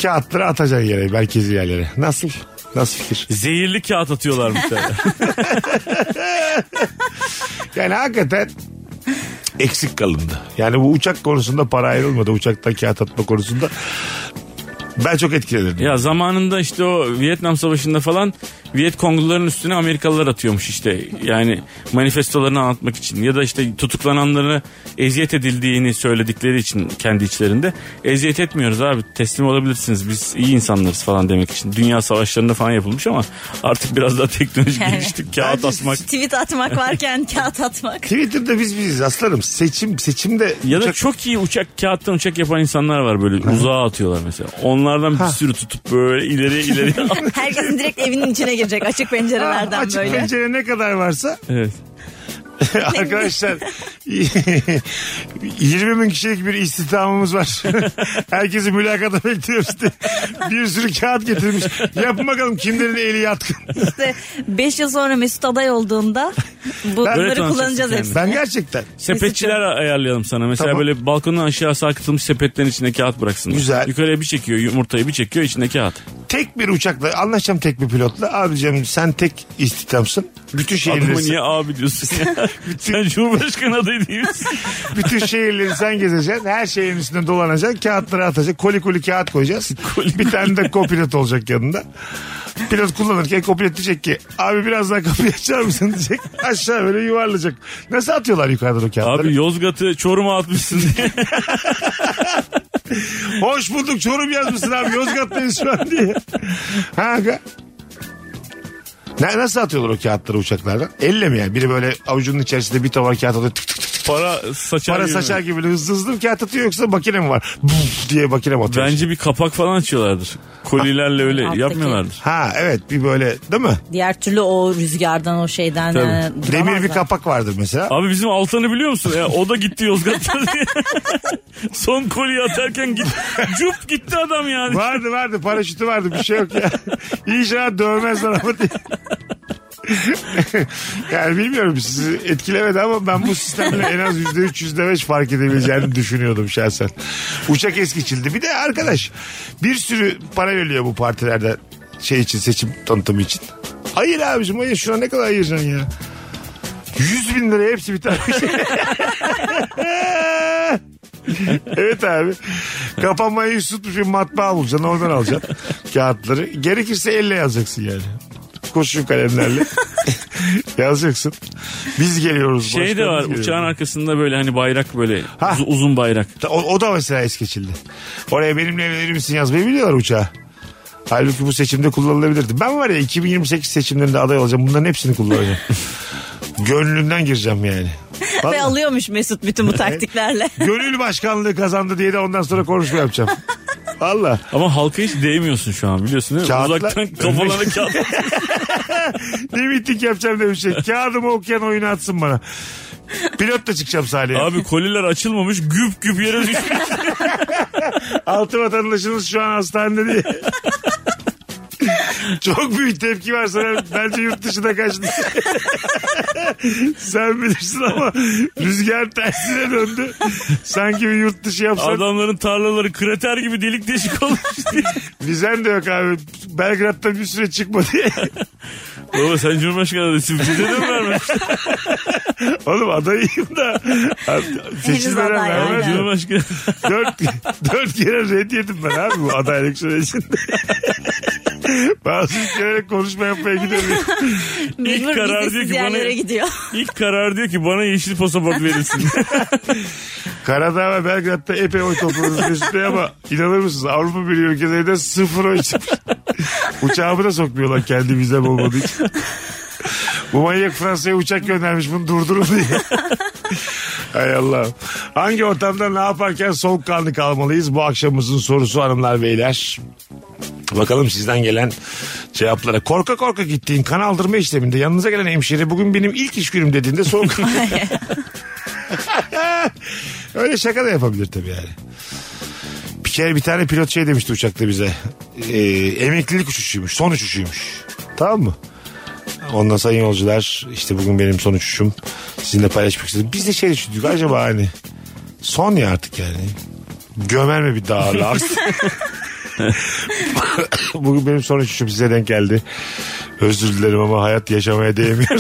Kağıtları atacaksın yere merkezi yerlere. Nasıl? Nasıl fikir? Zehirli kağıt atıyorlar bir tane. Yani hakikaten eksik kalındı. Yani bu uçak konusunda para ayrılmadı. Uçaktan kağıt atma konusunda. Ben çok etkilenirdim. ya zamanında işte o Vietnam Savaşı'nda falan Vietkongluların üstüne Amerikalılar atıyormuş işte. Yani manifestolarını anlatmak için ya da işte tutuklananları eziyet edildiğini söyledikleri için kendi içlerinde. Eziyet etmiyoruz abi teslim olabilirsiniz biz iyi insanlarız falan demek için. Dünya savaşlarında falan yapılmış ama artık biraz daha teknoloji Yani. gelişti. Kağıt asmak. Tweet atmak varken kağıt atmak. Twitter'da biz biziz aslanım. Seçim seçimde Ya da çok iyi uçak kağıttan uçak yapan insanlar var böyle uzağa atıyorlar mesela. Onlardan bir sürü tutup böyle ileriye ileriye Herkesin direkt evinin içine girecek açık pencerelerden açık böyle. pencere ne kadar varsa Evet. arkadaşlar 20 bin kişilik bir istihdamımız var. Herkesi mülakata bekliyoruz diye. Bir sürü kağıt getirmiş. Yapın bakalım kimlerin eli yatkın. İşte 5 yıl sonra Mesut aday olduğunda bunları tanışacaksın kullanacağız kendini. hepsini. Ben gerçekten Sepetçiler ayarlayalım sana. Mesela Tamam. böyle balkondan aşağı sarkıtılmış sepetlerin içine kağıt bıraksınlar. Güzel. Yukarıya bir çekiyor yumurtayı bir çekiyor içinde kağıt. tek bir uçakla anlaşacağım tek bir pilotla. Abicim sen tek istihdamsın. Bütün Adama şehirleri, niye abi diyorsun ya? Sen Cumhurbaşkanı adayı değil misin? bütün şehirleri sen gezeceksin. Her şehrin üstünde dolanacaksın. Kağıtları atacaksın. Koli koli kağıt koyacağız. Bir tane de kopilot olacak yanında. Pilot kullanırken kopilot diyecek ki abi biraz daha kapıyı açar mısın diyecek. Aşağı böyle yuvarlayacak. Nasıl atıyorlar yukarıdan o kağıtları? Abi Yozgat'ı Çorum'a atmışsın diye. Hoş bulduk Çorum yazmışsın abi Yozgat'tayız şu an diye. Ha aga. Ne, nasıl atıyorlar o kağıtları uçaklardan? Elle mi yani? Biri böyle avucunun içerisinde bir tavar kağıt atıyor. Tık tık tık tık. Para saçar Para gibi. saçar gibi böyle hızlı hızlı mı kağıt atıyor yoksa makine mi var? Buf diye makine mi atıyor? Bence bir kapak falan açıyorlardır. Kolilerle öyle Alttaki. yapmıyorlardır. Ha evet bir böyle değil mi? Diğer türlü o rüzgardan o şeyden Tabii. e, Demir bir duramazlar. kapak vardır mesela. Abi bizim Altan'ı biliyor musun? Ya, o da gitti Yozgat'ta diye. Son koliyi atarken git, cup gitti adam yani. Vardı vardı paraşütü vardı bir şey yok ya. İnşallah dövmezler ama diye. yani bilmiyorum sizi etkilemedi ama ben bu sistemle en az yüzde üç yüzde beş fark edebileceğini düşünüyordum şahsen. Uçak eskiçildi. Bir de arkadaş bir sürü para veriliyor bu partilerde şey için seçim tanıtımı için. Hayır abicim hayır şuna ne kadar ayıracaksın ya. 100 bin lira hepsi bir tane şey. evet abi. Kapanmayı yüz tutmuş bir matbaa bulacaksın. Oradan alacaksın kağıtları. Gerekirse elle yazacaksın yani. Kurşun kalemlerle. yazacaksın. Biz geliyoruz. Şey de başkanımız var geliyor. uçağın arkasında böyle hani bayrak böyle Ha. uz- uzun bayrak. O, o da mesela es geçildi. Oraya benimle evlenir misin yazmayı biliyorlar uçağa. Halbuki bu seçimde kullanılabilirdi. Ben var ya 2028 seçimlerinde aday olacağım. Bunların hepsini kullanacağım. Gönlünden gireceğim yani. Ve Vallahi. alıyormuş Mesut bütün bu taktiklerle. Gönül başkanlığı kazandı diye de ondan sonra konuşma yapacağım. Valla. Ama halka hiç değmiyorsun şu an biliyorsun değil mi? Kağıtlar- Uzaktan kafalarına kağıt. Ne miting yapacağım demişler. Kağıdımı okuyan oyunu atsın bana. Pilot da çıkacağım sahneye. Abi koliler açılmamış güp güp yere düşmüş. Altı vatandaşınız şu an hastanede diye. Çok büyük tepki var sana. Bence yurt dışına kaçtı. Sen bilirsin ama rüzgar tersine döndü. Sanki bir yurt dışı yapsan. Adamların tarlaları krater gibi delik deşik olmuş. Vizen de yok abi. Belgrad'da bir süre çıkma diye. Baba sen Cumhurbaşkanı adayısın. Bize de mi vermemiş? Oğlum adayım da. Seçilmeden aday, vermez aynen. mi? Cumhurbaşkanı. dört, dört kere red yedim ben abi bu adaylık sürecinde. Bazı ülkelere konuşma yapmaya gidiyorum. Mecbur karar vizesiz diyor ki bana- yerlere gidiyor. İlk karar diyor ki bana yeşil pasaport verilsin. Karadağ ve Belgrad'da epey oy topladınız Mesut Bey ama inanır mısınız Avrupa Birliği ülkelerinde sıfır oy çıkmış. Uçağımı da sokmuyorlar kendi vizem olmadığı için. Bu manyak Fransa'ya uçak göndermiş bunu durdurun diye. Hay Allah. Hangi ortamda ne yaparken soğukkanlı kalmalıyız? Bu akşamımızın sorusu hanımlar beyler. Bakalım sizden gelen cevaplara. Korka korka gittiğin kan aldırma işleminde yanınıza gelen hemşire bugün benim ilk iş günüm dediğinde soğuk. Öyle şaka da yapabilir tabii yani. Bir kere bir tane pilot şey demişti uçakta bize. Ee, emeklilik uçuşuymuş. Son uçuşuymuş. Tamam mı? Ondan sayın yolcular işte bugün benim son uçuşum. Sizinle paylaşmak istedim. Biz de şey düşündük acaba hani son ya artık yani. Gömer mi bir daha Lars? bugün benim son uçuşum size denk geldi. Özür dilerim ama hayat yaşamaya değmiyor.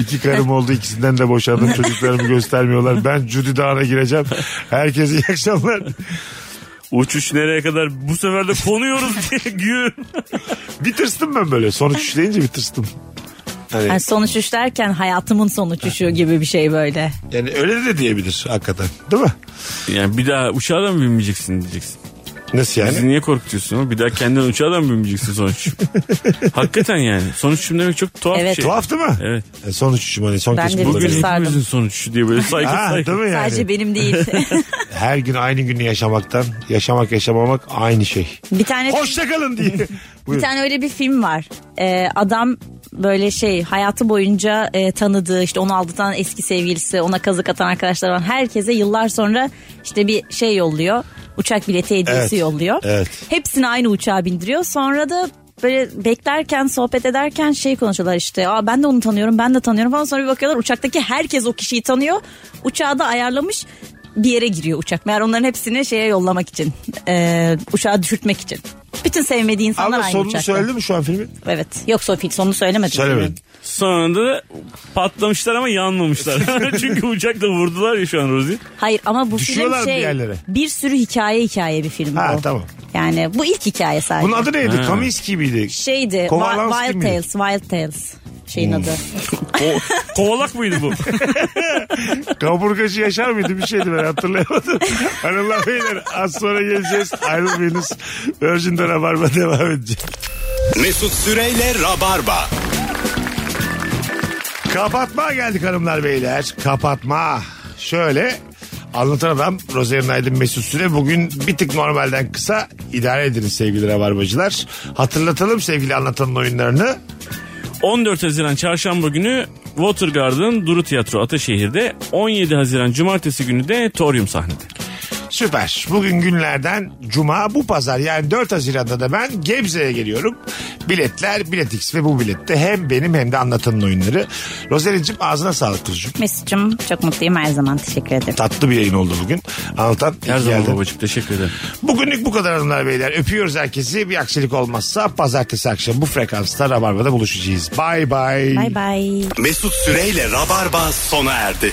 İki karım oldu ikisinden de boşandım çocuklarımı göstermiyorlar. Ben Judy Dağı'na gireceğim. Herkese iyi akşamlar. Uçuş nereye kadar bu sefer de konuyoruz diye gül. Bir tırstım ben böyle. Son üç deyince bir tırstım. Hani, Yani sonuç üç derken hayatımın son uçuşu gibi bir şey böyle. yani öyle de diyebilir hakikaten. Değil mi? Yani bir daha uçağa da mı binmeyeceksin diyeceksin. Nasıl Bizi yani? niye korkutuyorsun? Bir daha kendin uçağa da mı binmeyeceksin sonuç? Hakikaten yani. Sonuç şimdi demek çok tuhaf bir Evet. şey. Tuhaf değil mi? Evet. E, son uçuşum hani son Ben kez de kullanıyorum. Bugün Sardım. hepimizin sonuç diye böyle saygı Ha, saygı. değil mi yani? Sadece benim değil. Her gün aynı günü yaşamaktan yaşamak yaşamamak aynı şey. bir tane Hoşçakalın diye. Buyur. Bir tane öyle bir film var. Ee, adam böyle şey hayatı boyunca e, tanıdığı işte onu aldatan eski sevgilisi ona kazık atan arkadaşlar olan herkese yıllar sonra işte bir şey yolluyor. Uçak bileti hediyesi Evet, yolluyor. evet. Hepsini aynı uçağa bindiriyor. Sonra da böyle beklerken sohbet ederken şey konuşuyorlar işte Aa, ben de onu tanıyorum ben de tanıyorum falan sonra bir bakıyorlar uçaktaki herkes o kişiyi tanıyor uçağı da ayarlamış bir yere giriyor uçak meğer onların hepsini şeye yollamak için e, uçağa düşürtmek için bütün sevmediği insanlar Ama aynı sonunu uçakta. söyledi mi şu an filmin? Evet. Yok Sofi sonunu söylemedim. Söylemedim. Sonunda da patlamışlar ama yanmamışlar. Çünkü uçakla vurdular ya şu an Rozi. Hayır ama bu Düşüyorlar film mı şey bir yerlere? bir sürü hikaye hikaye bir film Ha, bu. tamam. Yani bu ilk hikaye sadece. Bunun adı neydi? Kaminski miydi? Şeydi Kovalanski Wi- Wild miydi? Hmm. Tales. Wild Tales şeyin adı. Ko- kovalak mıydı bu? Kaburgacı yaşar mıydı bir şeydi ben hatırlayamadım. Hanımlar beyler az sonra geleceğiz. Ayrılmayınız. Virgin'de Rabarba devam edecek. Mesut Süreyle Rabarba. Kapatma geldik hanımlar beyler. Kapatma. Şöyle anlatan adam Rozerin Aydın Mesut Süre bugün bir tık normalden kısa idare ediniz sevgili rabarbacılar. Hatırlatalım sevgili anlatanın oyunlarını. 14 Haziran çarşamba günü Watergarden Duru Tiyatro Ataşehir'de 17 Haziran cumartesi günü de Torium sahnede. Süper. Bugün günlerden cuma bu pazar yani 4 Haziran'da da ben Gebze'ye geliyorum. Biletler Biletix ve bu bilette hem benim hem de anlatanın oyunları. Rozerin'cim ağzına sağlık kuzucuğum. Mesut'cum çok mutluyum her zaman teşekkür ederim. Tatlı bir yayın oldu bugün. Anlatan iyi Her ki zaman geldin. babacık teşekkür ederim. Bugünlük bu kadar hanımlar beyler. Öpüyoruz herkesi. Bir aksilik olmazsa pazartesi akşam bu frekansta Rabarba'da buluşacağız. Bay bay. Bay bay. Mesut Süreyle Rabarba sona erdi.